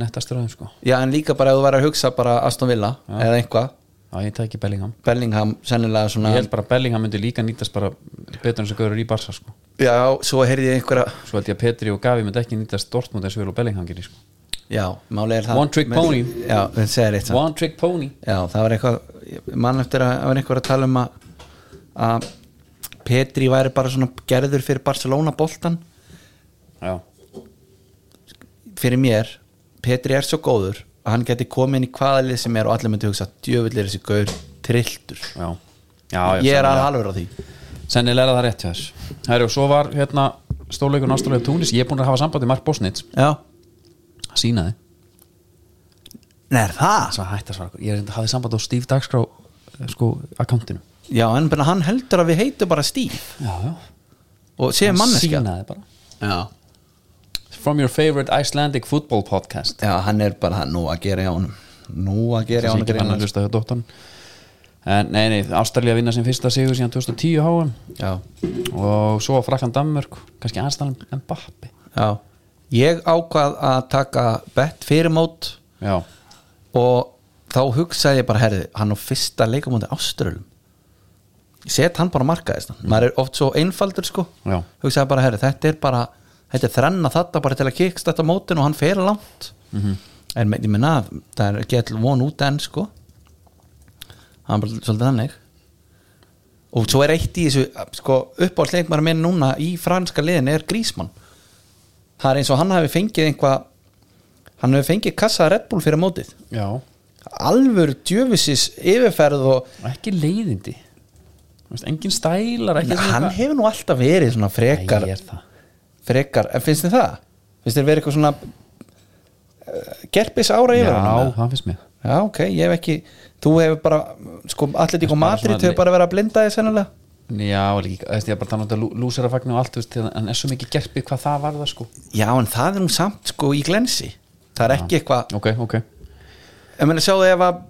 B: nettastur aðeins sko
C: já en líka bara ef þú væri að hugsa bara Aston Villa eða eitthvað
B: já, ég tæki Bellingham
C: Bellingham sennilega svona
B: ég held bara að Bellingham myndi líka nýtast bara betur en sem görur í Barca sko
C: já svo heyrði ég einhverja
B: svo held ég að Petri og Gavi myndi ekki nýtast Dortmund eins og vel og Bellingham gerir sko
C: já máli er það
B: One trick
C: Men-
B: pony.
C: já það segir eitt
B: one trick pony
C: já það var eitthvað ég man eftir að það var einhver að tala um að að Petri væri bara svona gerður fyrir Barcelona boltan
B: já,
C: fyrir mér Petri er svo góður að hann geti komið inn í hvaða lið sem er og allir myndi hugsa djöfull er þessi gaur trilltur
B: já, já, já
C: ég er
B: sennilega.
C: alveg alveg á því
B: sennilega er það rétt hjá þess Herru, og svo var hérna stóðleikur náttúrulega Túnis, ég er búin að hafa sambandi Mark Bosnitz,
C: já,
B: sínaði
C: neður það
B: svo hætti að svara, okkur. ég reyndi að hafa sambandi á Steve Dagskrá eh, sko, akkantinu
C: já, en bara hann heldur að við heitum bara Steve
B: já, já,
C: og séum manneskja
B: sínaði bara
C: já.
B: From your favorite Icelandic football podcast
C: já, hann er bara nú að gera hjá honum nú að gera hjá
B: sem
C: honum
B: ekki fann að
C: greinlega.
B: hlusta hjá dóttan en nei, nei, Ástralja vinna sem fyrsta sigur síðan 2010 háum
C: já,
B: og svo frakkan Danmörk, kannski aðstæðan Mbappi
C: já ég ákvað að taka bett fyrir mót
B: já,
C: og þá hugsaði ég bara herði, hann á fyrsta leikamóti Áströlum set hann bara markaðist maður er oft svo einfaldur sko
B: Já.
C: hugsaði bara herði, þetta er bara þetta er þrenna þetta bara til að kikst þetta mótin og hann fer langt -hmm. en me- ég minna, það er gett von út enn sko hann er bara svolítið þannig og svo er eitt í þessu sko, uppáhaldsleikmar minn núna í franska liðin er Grísmann það er eins og hann hafi fengið einhvað hann hefur fengið kassa Red Bull fyrir mótið
B: já,
C: alvöru djöfisis yfirferð og
B: ekki leiðindi Þú veist, engin stælar ekki svona
C: hann
B: eitthvað.
C: hefur nú alltaf verið svona frekar,
B: Nei, ég er það.
C: frekar en finnst þið það? finnst þið verið eitthvað svona uh, gerpis ára yfir
B: já,
C: honum, eða?
B: það finnst mér
C: já, ok, ég hef ekki þú hefur bara, sko, allir ekki á
B: bara
C: matri
B: svona
C: þau hefur
B: le-
C: bara verið að blinda þið sennilega
B: já, líka, þú veist, ég er bara þannig að um nota lúserafagnu og allt, þú veist, en er svo mikið gerpi hvað það var það sko
C: já, en það er nú samt, sko, í glensi það er ekki eitthvað,
B: ok, ok,
C: ég meina sjáðu ef að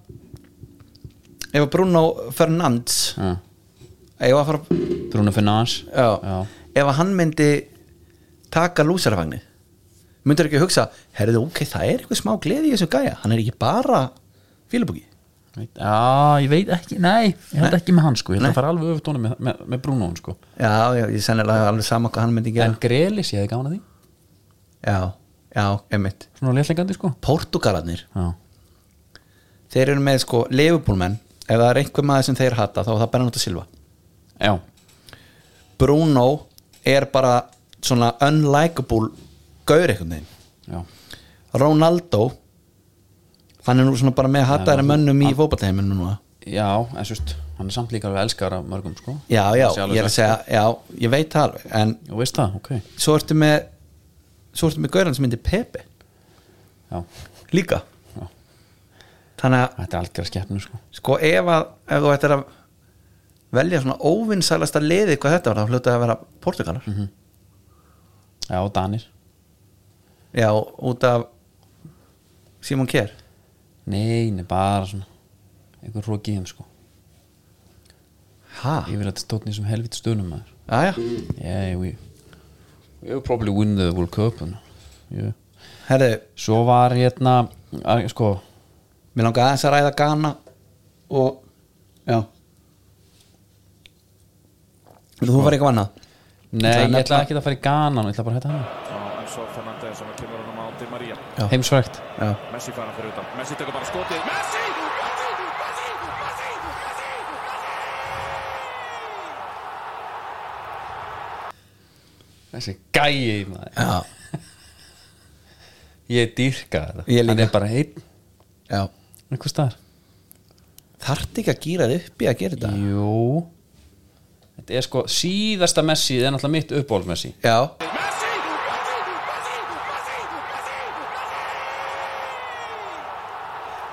C: ef að Bruno Fernandes
B: já.
C: ef að fara
B: Bruno Fernandes
C: já.
B: Já.
C: ef að hann myndi taka lúsarafagni myndur ekki hugsa herðu ok, það er eitthvað smá gleði í þessu gæja hann er ekki bara fílubúki
B: Já, ég veit ekki, nei, ég held
C: Nei.
B: ekki með hann sko, ég held
C: Nei.
B: að fara alveg öfut honum með, með, með Bruno sko.
C: já, já, ég sennilega alveg sama hvað hann myndi gera
B: en Grelis, ég hefði gaman að því
C: já, já, emmitt
B: svona léttlegandi sko
C: Portugalarnir,
B: já,
C: þeir eru með sko leifubúlmenn, ef það er einhver maður sem þeir hata þá er það Bernardo Silva
B: já,
C: Bruno er bara svona unlikable gaur einhvern veginn
B: já.
C: Ronaldo hann er nú svona bara með hataðari
B: Nei,
C: mönnum í fótballteiminu núna
B: já en svist, hann er samt líka alveg elskar af mörgum sko
C: Já, já,
B: Það sé alveg
C: ég er að
B: sagt.
C: segja Já, ég veit það alveg En
B: Jú, veist það, ok,
C: svo ertu með Svo ertu með gauran sem myndir Pepe
B: já,
C: Líka
B: Já.
C: Þannig að,
B: þetta er algjör skeppnu sko
C: sko, ef að Ef þú ættir að velja svona óvinsælasta liði hvað þetta var, þá hljóta að vera Portugalar
B: já, og Danir,
C: Já, út af Simon Kjær
B: nei, nei, bara svona einhver rokið þeim sko
C: Ha?
B: ég vil að þetta stóðni sem helviti stöðnum maður
C: Já, já,
B: yeah, we we'll probably win the World Cup and, yeah.
C: herðu
B: svo var hérna að, sko,
C: Mér langar aðeins að ræða Ghana Og, já Þú var eitthvað annað
B: nei, ég
C: nefna-
B: ætla ekki að fara í Ghana ég ætla bara að hætta hann,
D: En svo Fernandes og það kemur hann á Di Maria
C: Já.
B: heimsvægt
C: Já
D: Messi fær hann fyrir utan Messi tekur bara skotið Messi! Messi! Messi! Messi! Messi!
B: þessi gæi maður
C: Já,
B: ég dýrka þetta
C: Ég líka.
B: hann er bara einn
C: já
B: einhvers staðar
C: þarfti ekki að gýra þið upp í að gera þetta
B: jú þetta er sko síðasta Messi það er náttúrulega mitt uppból Messi
C: já,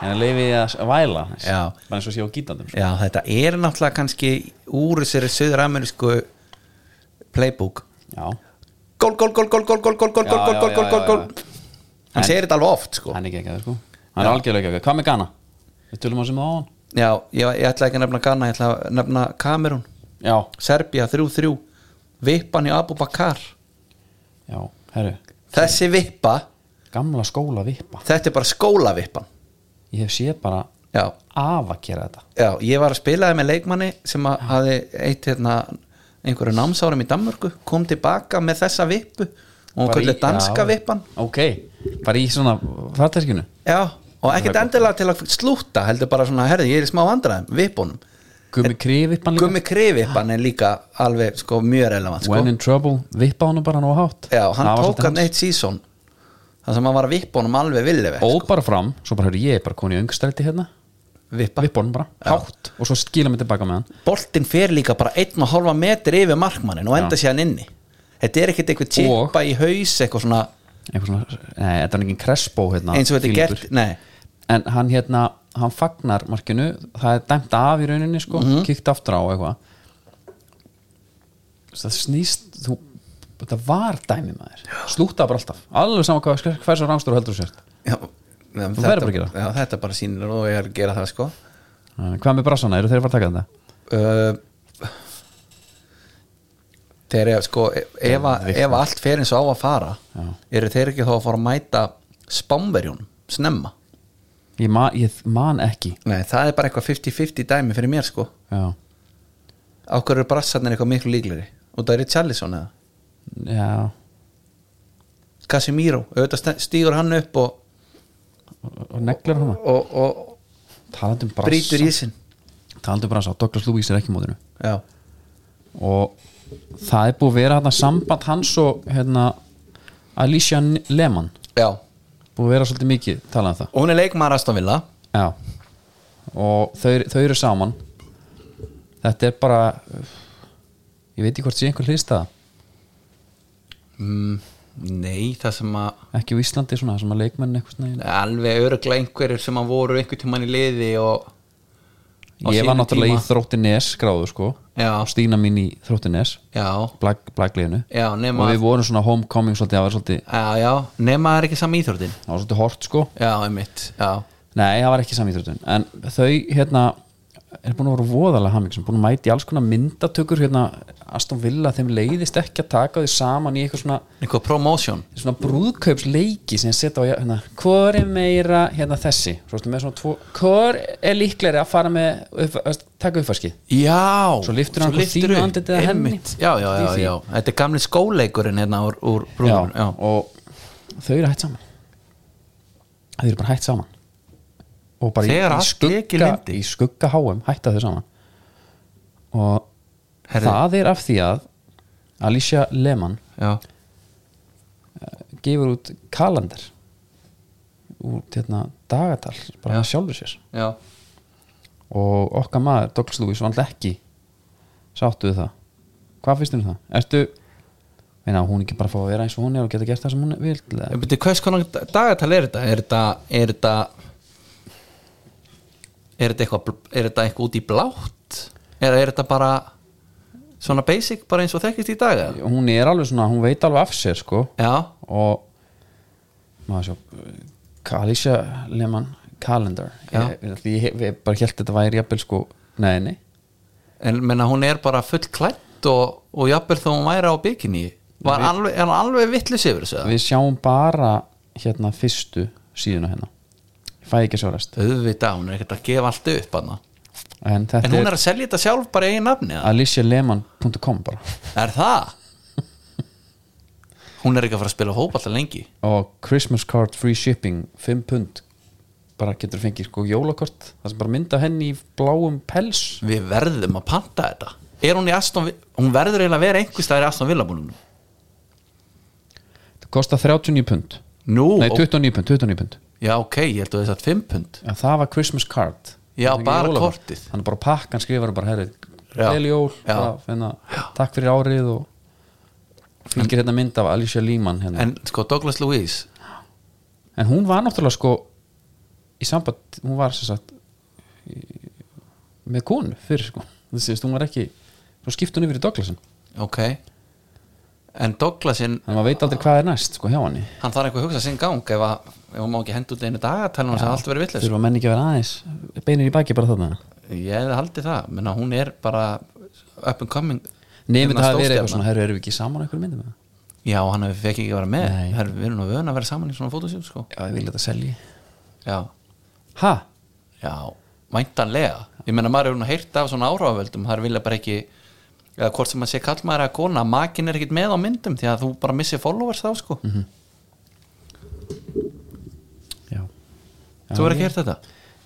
B: en að leifi að væla aðeins.
C: Já.
B: bara eins og sé á gítandum sko.
C: já, þetta er náttúrulega kannski úr þessari söður-amerísku playbook
B: já
C: gól, gól, gól, gól, gól, gól, gól, gól,
B: Já,
C: gól,
B: já,
C: gól, gól,
B: já,
C: gól,
B: já,
C: gól
B: já.
C: hann segir þetta alveg oft sko
B: hann er ekki ekki sko hann er algjörlega ekki hvað með Ghana við tölum um á sem á hann
C: já, ég, ég ætla ekki að nefna Ghana ég ætla að nefna Kamerún
B: já
C: Serbia 3-3 vippan í Abu Bakar
B: já herru
C: þessi vippa,
B: gamla skóla vippa
C: þetta er bara skólavippan
B: ég hef séð bara
C: já,
B: af að gera þetta
C: já, ég var að spilaði með leikmanni sem að hafi eitt hérna, einhverju námsárum í Danmörku kom tilbaka með þessa vippu og
B: Bara
C: hún
B: í-
C: kallið danska
B: já.
C: vippan
B: ok bara í svona þarterkinu
C: já, og ekkert endilega til að slúta heldur bara svona, herði, ég er í smá vandræðum vippunum,
B: gummi krið vippan líka
C: Eh, gummi krivippan er líka alveg sko mjög relevant sko.
B: when in trouble vippa honum bara nú á hátt
C: já, hann
B: Það var
C: tók
B: svolítið
C: hann eitt sísón þar sem hann var að vippa honum alveg villið
B: Ó bara fram, svo bara höfðu ég er bara komin í öngstælti hérna
C: vippa,
B: Vippa honum bara, hátt Og svo skila mig tilbaka með hann
C: boltinn fer líka bara 1,5 metri yfir markmannin og enda sér hann inni þetta er ekkert eitthvað
B: Og-
C: tippa í haus eitthvað svona,
B: Einhver svona, nei, þetta er engin kressbó hérna
C: eins og þetta er
B: Fílingur.
C: gert nei,
B: En hann hérna, hann fagnar markinu Það er dæmt af í rauninni sko
C: Mhm.
B: mm aftur á og eitthvað Það snýst þú, Þetta var dæmi maður Slúta bara alltaf, alveg saman hvað Hversu rámstur heldur þú sért
C: Já, neðan,
B: Þú verður
C: þetta,
B: bara að gera
C: já, þetta bara sýnir og ég er að gera það sko
B: Eh, Hvað með brassana, eru þeir að fara að taka þetta?
C: uh, þeir eru sko e- ef, að- ef að allt fer eins og á að fara eru þeir ekki þá að fara að mæta spámverjunum, snemma
B: Ég man, ég man ekki
C: nei, það er bara eitthvað 50-50 dæmi fyrir mér sko
B: Já,
C: á hverju eru brassarnir eitthvað miklu líkleri og það eru Charlison eða
B: já
C: Casimiro, auðvitað st- stígur hann upp og,
B: Og, og neglar hana
C: og, og
B: Talandi um brassa
C: brýtur í sin
B: talandi bara sá, Douglas Lewis er ekki í mótinu
C: já,
B: og það er búið að vera þarna samband hans og hérna Alicia N- Lehmann
C: já,
B: búið að vera svolítið mikið talað um það
C: og hún er leikmaður aðstofnvilla
B: já og þau, þau eru saman þetta er bara ég veit ekki hvort sé einhver hlýsta
C: mm, nei, það sem að
B: ekki á Íslandi svona, það sem að leikmenn eitthvað neginn
C: alveg öruglega einhverjir sem að voru einhvern tímann í liði og á
B: ég var
C: sínum
B: náttúrulega
C: tíma.
B: í Þróttines gráðu sko
C: Já.
B: og Stína mín í Þróttines
C: já,
B: blækliðinu
C: já, nema
B: og við vorum svona homecoming svolítið, það var svolítið,
C: já, já, nema það er ekki saman íþróttin
B: það var svolítið hort sko
C: já, einmitt, já,
B: Nei, það var ekki samíþróttun En þau hérna er búin að vera voðalega hamingsum búin að mæti alls konar myndatökur hérna, Aston Villa, þeim leiðist ekki að taka þau saman í eitthvað svona,
C: einhver promotion
B: svona brúðkaupsleiki sem setja á, hérna, hvor er meira hérna þessi, svo ertu með svona tvo hvor er líklegri að fara með upp, að taka uppfarskið,
C: já,
B: Svo lyftir hann einhver þínu andlitið að henni.
C: einmitt, já, já,
B: Í
C: já,
B: því.
C: já, þetta er gamli skóleikurinn hérna úr, úr brúður, já,
B: og þau eru hætt saman þau eru bara hætt saman og bara
C: Þegar
B: í, í,
C: allt lék í
B: skugga,
C: lyndi.
B: í skugga háum hætta þau saman og
C: Herðu.
B: það er af því að Alicia Lehmann
C: já,
B: gefur út kalendar út hérna dagatal bara sjálfur sér
C: já,
B: og okkar maður, Douglas Lewis, var alltaf ekki sáttu við það hvað finnst þér um það? Ertu meina, hún ekki bara að fá að vera eins og hún er og geta gert það sem hún vil eða?
C: Beti, hvers konar dagatal er þetta er þetta, er þetta er þetta eitthvað bl- er þetta eitthvað út í blátt eða er þetta bara svona basic bara eins og þekkist í dag eða?
B: hún er alveg svona, hún veit alveg af sér sko
C: já,
B: og maður sjá Alicia Lehmann Calendar
C: Já.
B: ég, ég, ég, hef- ég bara held þetta væri jafnvel sko, nei, nei
C: en menna hún er bara full klætt og, og jafnvel þó hún væri á bikini var alveg, er hún alveg vittlis yfir þessu eða?
B: við sjáum bara hérna fyrstu síðuna hérna ég fæ ekki að sjá rest
C: auðvitað, hún er ekkert að gefa allt upp hana.
B: en þetta
C: en
B: er,
C: hún er að selja þetta sjálf bara í einu nafni eða?
B: alicialehmann.com bara
C: er það? hún er ekki að fara að spila hópa alltaf lengi
B: og Christmas card free shipping 5 pund bara getur fengið sko jólakort það sem bara mynda henni í bláum pels
C: við verðum að panta þetta er hún í Aston Vi- hún verður eiginlega að vera einhvers staðar í Aston Villa búnum
B: það kostar 39 pund
C: Nú,
B: Nei, 29 pund, 29 pund
C: já ok, ég held að það er 5 pund
B: En það var Christmas card
C: Já,
B: Það er
C: bara
B: jólakort.
C: kortið.
B: Hann er bara pakk, hann skrifar bara herri
C: Já.
B: Gleðileg jól,
C: Já.
B: bara, finna, takk fyrir árið og fylgir hérna mynd af Alicia Lehman hérna. en,
C: En sko, Douglas Lewis
B: hún var náttúrulega sko í samband, hún var sem sagt í, með konu fyrir sko þessi, hún var ekki, svo skipt hún yfir í Douglasin
C: Ok En Douglasin,
B: þannig að maður veit aldrei hvað er næst sko hjá hann
C: hann þarf eitthvað að hugsa sinn gang ef, að, ef hann má ekki henda út einu dagatælun og það allt verið vitleis
B: þurfa menn ekki að vera aðeins beinir í baki bara þarna
C: Ég hefði haldið það, menna hún er bara up and coming
B: nefnir
C: Hérna
B: það að vera
C: stórstjarna.
B: eitthvað svona, herru, erum við ekki saman á einhverjum myndum með það?
C: Já, hann hefur fekk ekki að vera með
B: Nei.
C: Herru, Við erum nú vöðan að vera saman í svona fótosjóð sko.
B: Já, ég vil þetta selji
C: Já,
B: Ha?
C: já, væntanlega Ég menna maður er nú heyrt af svona áhrafavöldum Það er vilja bara ekki eða hvort sem maður sé kall maður að kona makin er ekkit með á myndum því að þú bara missir followers þá sko
B: Já
C: Þú
B: Já,
C: er ekki heyrt þetta?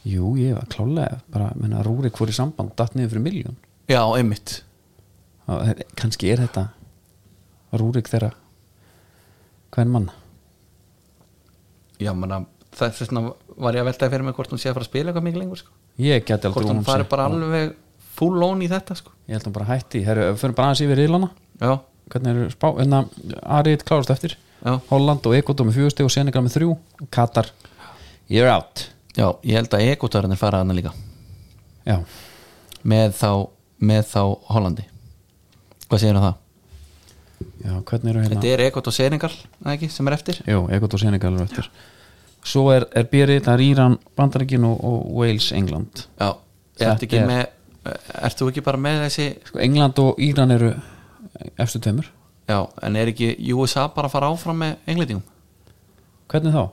B: Jú, ég var klálega bara, menna, Rúrik fór í samband, datt niður fyrir miljón
C: Já, einmitt
B: kannski er þetta Rúrik þeirra hvern mann
C: Já, menna, þess vegna var ég að veltaði fyrir mig hvort hún sé að fara að spila eitthvað mikið lengur sko.
B: ég geti aldrei um
C: hvort hún
B: hún
C: fari
B: sé-
C: bara alveg full on í þetta sko.
B: ég held hún bara hætti, herru, ef við fyrir bara aðeins yfir Írlanda
C: Já,
B: hvernig eru spá, en að Ariðið klárast eftir
C: Já.
B: Holland og Ekot með fjögusti og Senegal með þrjú Katar, you're out
C: já, ég held að ekotarinn fara að hana líka
B: já,
C: með þá, með þá Hollandi Hvað segir það?
B: já hvernig eru hérna
C: Þetta er ekot og seringar, ekki, sem er eftir
B: Jú, Ekot og Senegal eru eftir svo er, er bérið, það er Íran Bandaríkin og, og Wales, England
C: Já,
B: Þetta
C: ertu ekki
B: er-
C: með Ert þú ekki bara með þessi
B: sko, England og Íran eru efstu tveimur,
C: Já, en er ekki USA bara að fara áfram með englendingum?
B: hvernig þá?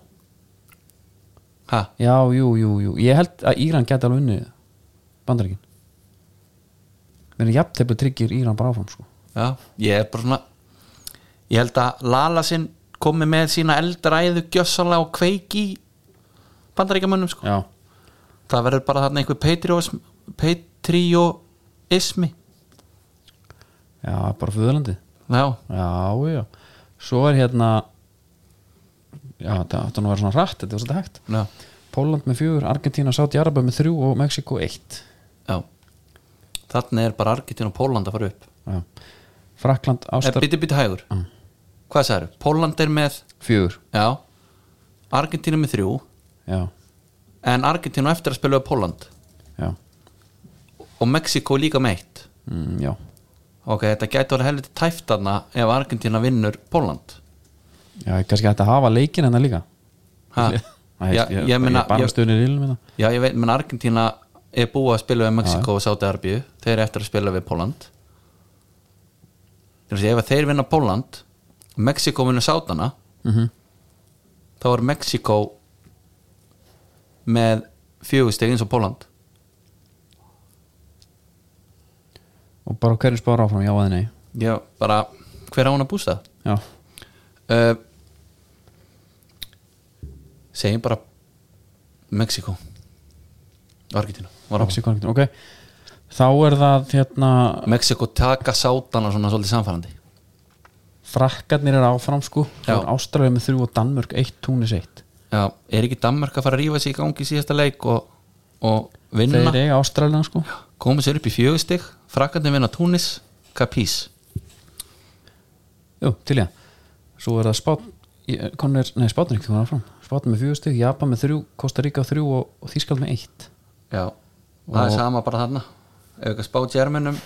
C: Ha,
B: Já, jú, jú, jú, ég held að Íran geti alveg unnið bandaríkin menn jafntefli tryggir Íran bara áfram sko.
C: já, ég er bara svona Ég held að Lala sinn komi með sína eldræðu gjössalega og kveiki í bandaríkjamönnum sko.
B: já,
C: Það verður bara þarna einhver patriotism- patriotismi
B: já, bara föðurlandi
C: Já,
B: já, já, svo er hérna já, þetta átti nú að vera svona rætt þetta var svolítið hægt
C: já,
B: Póland með fjögur, Argentína, Sáti Araba með þrjú og Mexiko eitt
C: já Þarna er bara Argentín og Póland að fara upp
B: já. Frakland,
C: Ástar...
B: Ástar
C: Bitti, bitti hægur
B: Mm.
C: Hvað sagður? Póland er með
B: fjögur
C: Já Argentínu með þrjú
B: já,
C: En Argentínu á eftir að spila við Póland
B: já,
C: Og Mexiko líka með eitt
B: mm, já
C: Ok, þetta gæti orðið helviti tæft þarna Ef Argentína vinnur Póland
B: já, er kannski hægt að hafa leikin hennar líka
C: Ha?
B: Æ,
C: Já, ég meina
B: bara
C: ég,
B: stöðnir ílum hérna
C: Já, ég veit, menn Argentína er búið að spila við Mexiko og Sáti Arbíu Þeir eru eftir að spila við Póland Þegar ef að þeir vinna Póland Mexiko vinnur Sátana Mhm. Þá er Mexiko Með fjögusteg eins og Póland
B: og bara hverju spára áfram, já eða nei
C: Já, bara hver á hún að bústa
B: já,
C: uh, Segjum bara Mexiko Argentínu var á.
B: Mexiko, Argentína, ok þá er það hérna
C: Mexiko taka sátana svona svolítið samfærandi
B: frakkarnir er áfram sko
C: Já.
B: Ástralja með þrjú og Danmörk, eitt túnis eitt
C: Já, er ekki Danmark að fara að rífa sig í gangi í síðasta leik og, og vinna
B: þeir eiga Ástralja sko
C: koma sér upp í fjögustig frakkandi vinna Túnis, Kapís
B: Jú, til ég Svo er það spát Konur, nei, spátnir ekki konar áfram Spátnir með fjögustig, Japan með þrjú, Costa Rica þrjú og, og Þískald með eitt
C: Já, það er sama bara þarna ef ekki að spá Germanum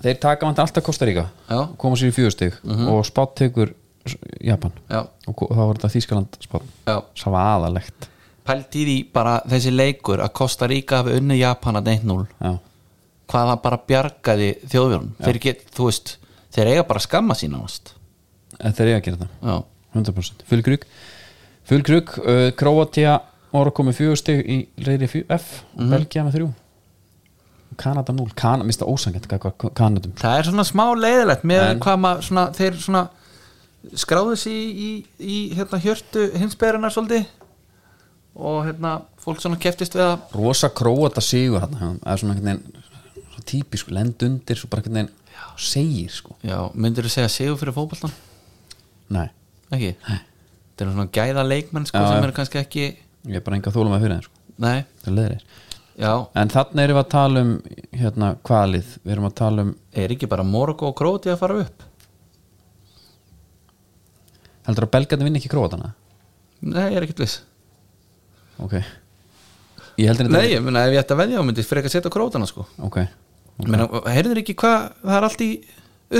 B: Þeir taka vantar alltaf Costa Rica
C: Já. Mhm.
B: og koma sér í fjögustig og spát tekur s- Japan
C: Já,
B: og ko- þá var þetta Þískaland spát
C: já
B: Sá var aðalegt
C: Pælt í því bara þessi leikur að Costa Rica hafi unnið Japan að 1-0
B: Já,
C: hvað það bara bjargaði þjóðvjörn þeir get, þú veist, þeir eiga bara að skamma sín ánast
B: þetta er ég að gera þetta
C: Já,
B: 100% Fullgrug Fullgrug, uh, Kroatia Morokko með fjögustig í reyri fjö- F og Belgia með þrjú Kanada 0, Kanada, mista ósangett Kanadum
C: það er svona smá leiðilegt með hvað maður, svona, þeir svona skráðu sig í, í, í hérna, hjörtu hinsberðina svolítið og hérna, fólk svona keftist við að
B: rosa króata sigur hann, eða svona einhvern veginn svo típisk, lend undir svo bara einhvern veginn segir sko
C: Já, myndirðu segja sigur fyrir fótboltan?
B: nei,
C: Ekki? Nei þetta er svona gæða leikmenn sko,
B: Já,
C: sem
B: já.
C: eru kannski ekki
B: ég er bara enga þólum að fyrir þeim sko.
C: nei,
B: Það er leiðir.
C: já,
B: en þannig erum við að tala um hérna, hvalið, við erum að tala um
C: er ekki bara Morgo og Króti að fara upp
B: heldur að belgarnir vinna ekki króatana
C: nei, ég er ekkert viss
B: ok ég heldur þetta
C: nei, ég meina ef ég ætti að veðja á myndi fyrir ekki að setja Krótana sko
B: ok,
C: okay. meina, heyrður ekki hvað, það er allt í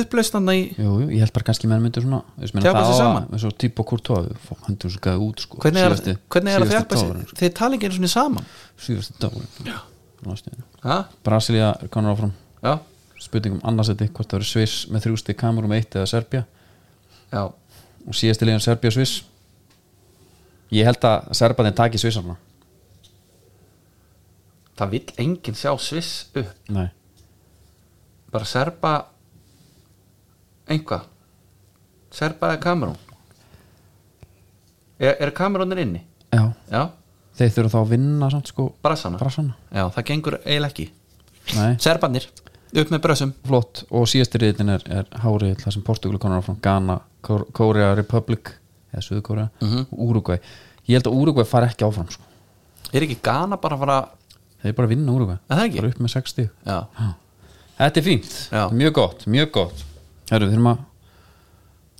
C: upplaustanda í,
B: jú, jú, ég held bara kannski menn myndu svona þú veist, meina,
C: Þjappa
B: það
C: sig
B: á að-
C: saman.
B: eins og típa Courtois, fólk hendur svo gæði út sko,
C: hvernig er,
B: síðasti-
C: hvernig er að
B: síðasti
C: þjálpa
B: dagurinn,
C: sig þið tala ekki einu svona saman
B: sko. síðasti dagur
C: ha?
B: Brasilia er konar áfram
C: já,
B: spurningum annarsetti, hvort það eru Sviss með þrjústi kamerum eitt eða Serbia
C: já,
B: og síðasti leiðan Serbia og Sviss ég held að Serbanin taki Svissarna
C: það vill enginn sjá Sviss upp
B: nei,
C: bara serpa einhvað serpa eða kamerún er, er kamerúnir inni?
B: já,
C: já,
B: þeir þurfa þá að vinna samt sko
C: brassana
B: Brassana,
C: já, það gengur eiginlega ekki
B: nei
C: serpanir, upp með brössum
B: flott og síðasti riðin er, er hárið það sem Portugal konar áfram Ghana, Kor- Korea Republic eða Suður-Korea
C: Mhm.
B: og Uruguay ég held að Uruguay fari ekki áfram sko.
C: er ekki gana bara að fara
B: þeir bara vinna Uruguay
C: Er það ekki?
B: bara upp með 60
C: já,
B: Já. þetta er fínt,
C: Já.
B: mjög gott mjög gott, herru við þurfum að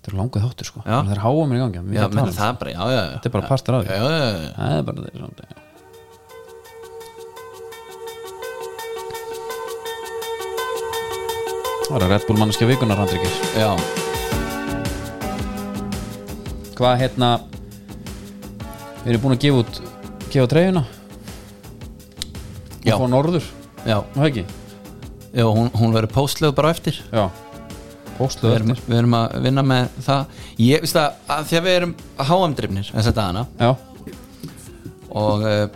B: þetta er langað þáttur sko
C: Já.
B: það er háa mér í gangi
C: já
B: já,
C: menn það er bara, já, já, já
B: Þetta er bara partur af því.
C: já, já, já, já.
B: um það er bara þeir samt Það er að Red Bull manneskja vikunar handrykir
C: já,
B: hvað hérna við erum búin að gefa út gefa treyjuna
C: Já.
B: og fá norður,
C: já,
B: nú ekki
C: já hún, hún verður póstlegu bara á eftir
B: já,
C: við
B: póstluð
C: erum,
B: eftir
C: við erum að vinna með það ég veist að, að því að við erum HM-drifnir þess að dagana
B: já,
C: og uh,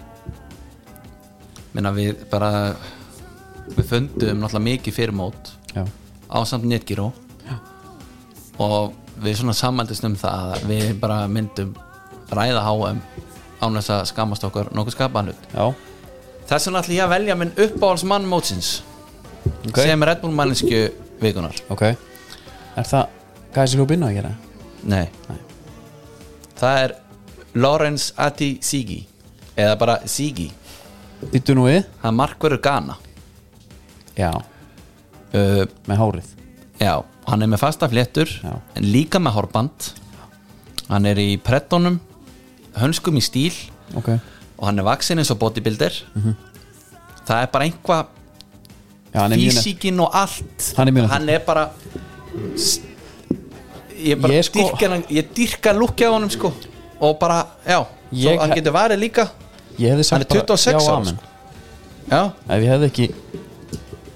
C: minna við bara við fundum náttúrulega mikið fyrir mót
B: já,
C: á samt netgíró og við svona sammældist um það að við bara myndum ræða HM án þess að skammast okkur nokkuð skapanlut
B: já
C: þess vegna ætlum ég að velja minn uppáhalds mann mótsins
B: Ok.
C: sem Red Bull mannesku vikunar
B: ok, er það gæsi hljópinna að gera?
C: Nei. það er Lawrence Ati Sigi eða bara Sigi
B: Býttu nú við?
C: hann markverður Ghana
B: já,
C: uh,
B: með hárið
C: Já, hann er með fasta fléttur
B: Já.
C: en líka með horband hann er í prettónum hönskum í stíl
B: ok,
C: og hann er vaksin eins og bodybuilder það er bara einhvað
B: já, Mhm. hann er mjög nett
C: físíkin og allt
B: Hann er mjög nett.
C: hann er bara s- ég bara
B: Ég
C: ég
B: sko-
C: dyrka hann ég dyrka lukkja á honum sko og bara, já,
B: Ég
C: svo hann
B: hef-
C: getur varið líka
B: ég hefði
C: hann
B: sagt
C: er 26
B: já,
C: ára,
B: amen
C: sko. já,
B: ef ég hefði ekki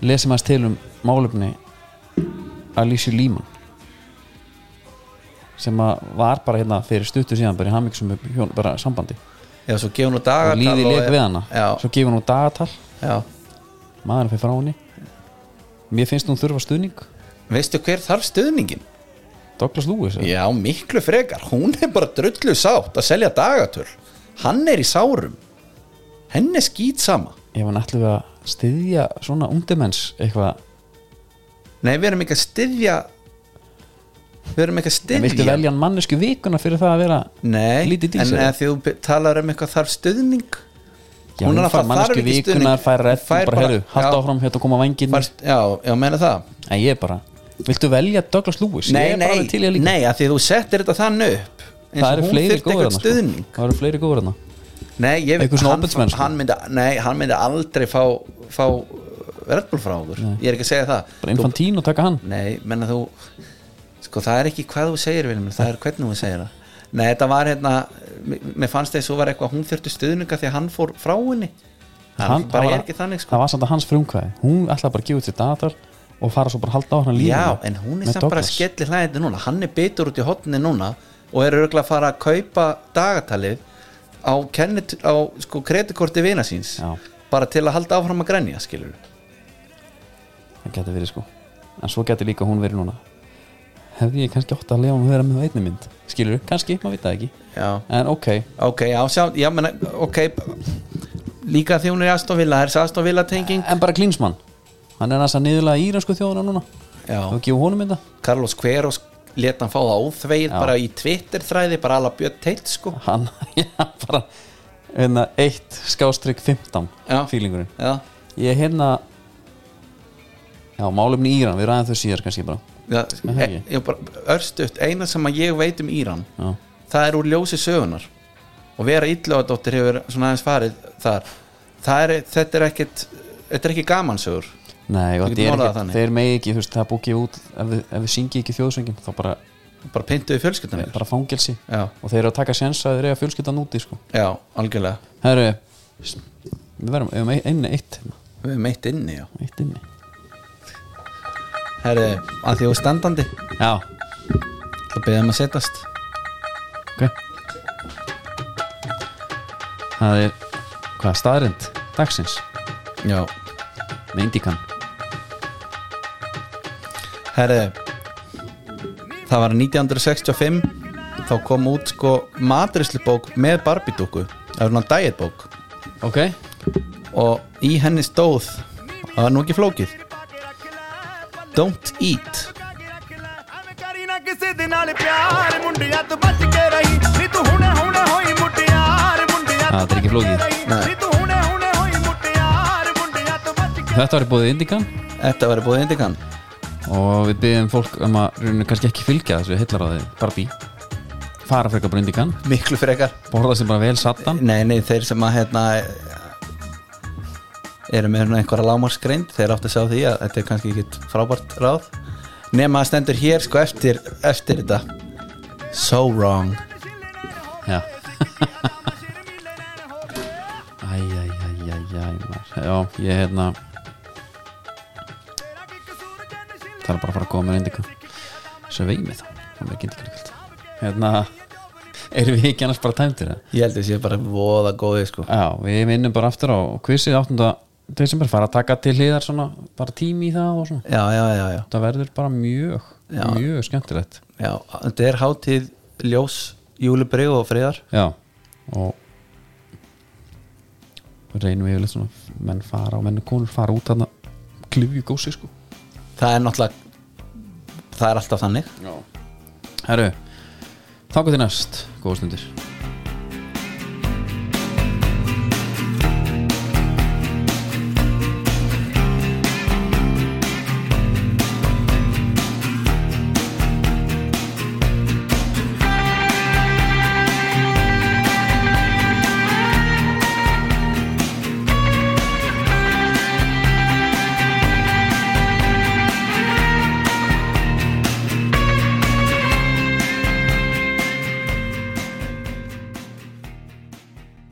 B: lesið maður til um málefni Alicia Lehman sem að var bara hérna fyrir stuttu síðan bara í hamiksum hjón, bara sambandi
C: já, svo gefur nú
B: og
C: dagatal
B: líði leik við hana
C: já,
B: svo gefur hún dagatal,
C: já
B: maður fyrir frá henni mér finnst hún þurfa stuðning
C: veistu hver þarf stuðningin?
B: Douglas Lewis eða?
C: Já, miklu frekar, hún er bara drullu sátt að selja dagatöl Hann er í sárum Henni er skýt sama
B: ef hann ætlum við að styðja svona undimens eitthvað,
C: Nei, við erum ekki að styðja Við erum ekki að
B: en viltu
C: styðja
B: velja hann mannesku vikuna fyrir það að vera
C: Nei,
B: lítið
C: en
B: dísir
C: ef þú be- talar um eitthvað þarf stuðning
B: já,
C: hún
B: hún
C: er
B: fær
C: að fara- þarf
B: mannesku
C: ekki
B: vikuna,
C: stuðning.
B: fær redd
C: Fær
B: bara, bara
C: bara-
B: heyrðu, halda
C: já.
B: áfram hérna koma vanginn
C: Fast, Já, já, meina það
B: En ég er bara, viltu velja Douglas Lewis? ég
C: Nei,
B: er bara alveg til
C: nei,
B: ég líka
C: nei, að því þú settir þetta þann upp eins
B: Það
C: og
B: eru
C: hún
B: fleiri sko.
C: þyrfti
B: góður
C: eitthvað
B: hana
C: stuðning
B: Það eru fleiri góður hana
C: Nei, ég
B: Einhver svona
C: hann-
B: ofbeldismenn, sko.
C: hann myndi, Nei, hann myndi aldrei fá, fá verðból frá okkur Ég er ekki að segja það
B: Bara
C: Þú-
B: infantín og taka hann
C: Nei, menna þú sko það er ekki hvað þú segir Vilmur, það er hvernig þú segir það Nei, þetta var hérna, mér mér fannst þess að var eitthvað hún þurfti stuðninga því að hann fór frá henni hann, bara
B: það
C: er
B: var-
C: ekki þannig sko
B: Það var samt að hans frumkvæði Hún ætlaði bara að gefa út sér dagatal og fara svo bara að halda á hann lífinu
C: Já, en hún er
B: með
C: samt bara
B: Douglas.
C: skelli hlæðið núna hann er bitur út í hotni núna og er örgulega að fara að kaupa dagatalið á, kennit, á sko, kreditkorti vina síns
B: Já.
C: bara til að halda áfram að grenja skilur
B: Það geti verið sko En svo geti líka hún verið núna Hefði ég kannski ótt að lefa hún vera með á einni mynd Skilur, kannski, maður veit það ekki
C: Já,
B: En ok,
C: ok, já, sjá, já, menna, ok líka því hún er í Aston Villa, er þessi Aston Villa tenging
B: en bara Klinsmann Hann er næst að niðurlega íransku þjóðuna núna
C: Já,
B: Þú gefur honum mynda
C: Carlos Queiroz leta hann fá það óþvegið bara í Twitter þræði bara ala bjött teilt sko
B: hann, já, bara hérna, 1 skástrygg 15
C: Já.
B: fílingurinn
C: já,
B: ég hérna já, málefni Íran, við ræðum þau síðar kannski bara
C: já,
B: það
C: e,
B: ekki?
C: ég bara, örstuðt, eina sem að ég veit um Íran
B: já,
C: það er úr ljósi sögunar og vera illugadóttir hefur svona aðeins farið þar það er, þetta er ekkit þetta er ekki gaman sögur
B: nei, og
C: Við
B: þetta
C: getum
B: er
C: orðað
B: ekki,
C: það þannig.
B: þeir megi ekki þú veist, það er búið út, ef við, ef við syngi ekki þjóðsöngin þá bara,
C: bara pyntuðu fjölskyldunum yfir.
B: bara fangelsi
C: já,
B: og þeir eru að taka séns að þeir eru að fjölskyldan úti sko.
C: já, algjörlega
B: herru, við verðum við erum einni eitt, hérna,
C: við erum meitt inni, já
B: eitt inni
C: herri, að því þú ert standandi
B: já,
C: það beðum að setjast
B: ok það er hvað, staðrind dagsins,
C: já,
B: með Indikan
C: herri það var 1965 þá kom út sko maturislubók með Barbie-dúku það var svona dietbók
B: ok,
C: og í henni stóð það var nú ekki flókið Don't eat
E: ਕਰੀ ਨਾ ਕਿਸੇ ਦੇ ਨਾਲ ਪਿਆਰ ਮੁੰਡਿਆ ਤੂੰ ਬਚ ਕੇ ਰਹੀ ਨੀ ਤੂੰ ਹੁਣੇ ਹੁਣੇ ਹੋਈ ਮੁਟਿਆਰ ਮੁੰਡਿਆ
B: Ah,
E: ਤੂੰ
B: þetta er ekki flókið.
C: Nei.
E: ਨੀ ਤੂੰ ਹੁਣੇ ਹੁਣੇ ਹੋਈ ਮੁਟਿਆਰ ਮੁੰਡਿਆ ਤੂੰ ਬਚ ਕੇ
B: þetta var í búið Indikan
C: Þetta var búið Indikan
B: og við byggjum fólk um að rauninu kannski ekki fylgja þessu hellaráði Barbie fara frekar brundikan,
C: Miklu frekar
B: borða sem bara vel satan
C: Nei, nei, þeir sem að hérna eru með svona einhverja lámarsgreind þeir áttu að sjá því að þetta er kannski ekki frábært ráð nema að stendur hér sko eftir, eftir þetta So wrong
B: já æj, æj, æj, æj, æj maður. já, ég hérna það er bara að fara að koma með indika svo vegið mig þá það er ekki indika líka hérna, erum við ekki annars bara tæmtir það?
C: Ég held að sé bara voða góði sko
B: Já, við minnum bara aftur á quizið 8. desember, fara að taka til hliðar svona, bara tími í það og svona
C: Já, já, já, já,
B: það verður bara mjög
C: Já.
B: mjög skemmtilegt
C: já. Þetta er hátíð ljós, júlibri og friðar
B: já og við reynum yfirleitt svona menn fara og menn og konur fara út þarna klifju gósi sko
C: Það er náttúrulega það er alltaf þannig
B: herru, þakku til næst góða stundir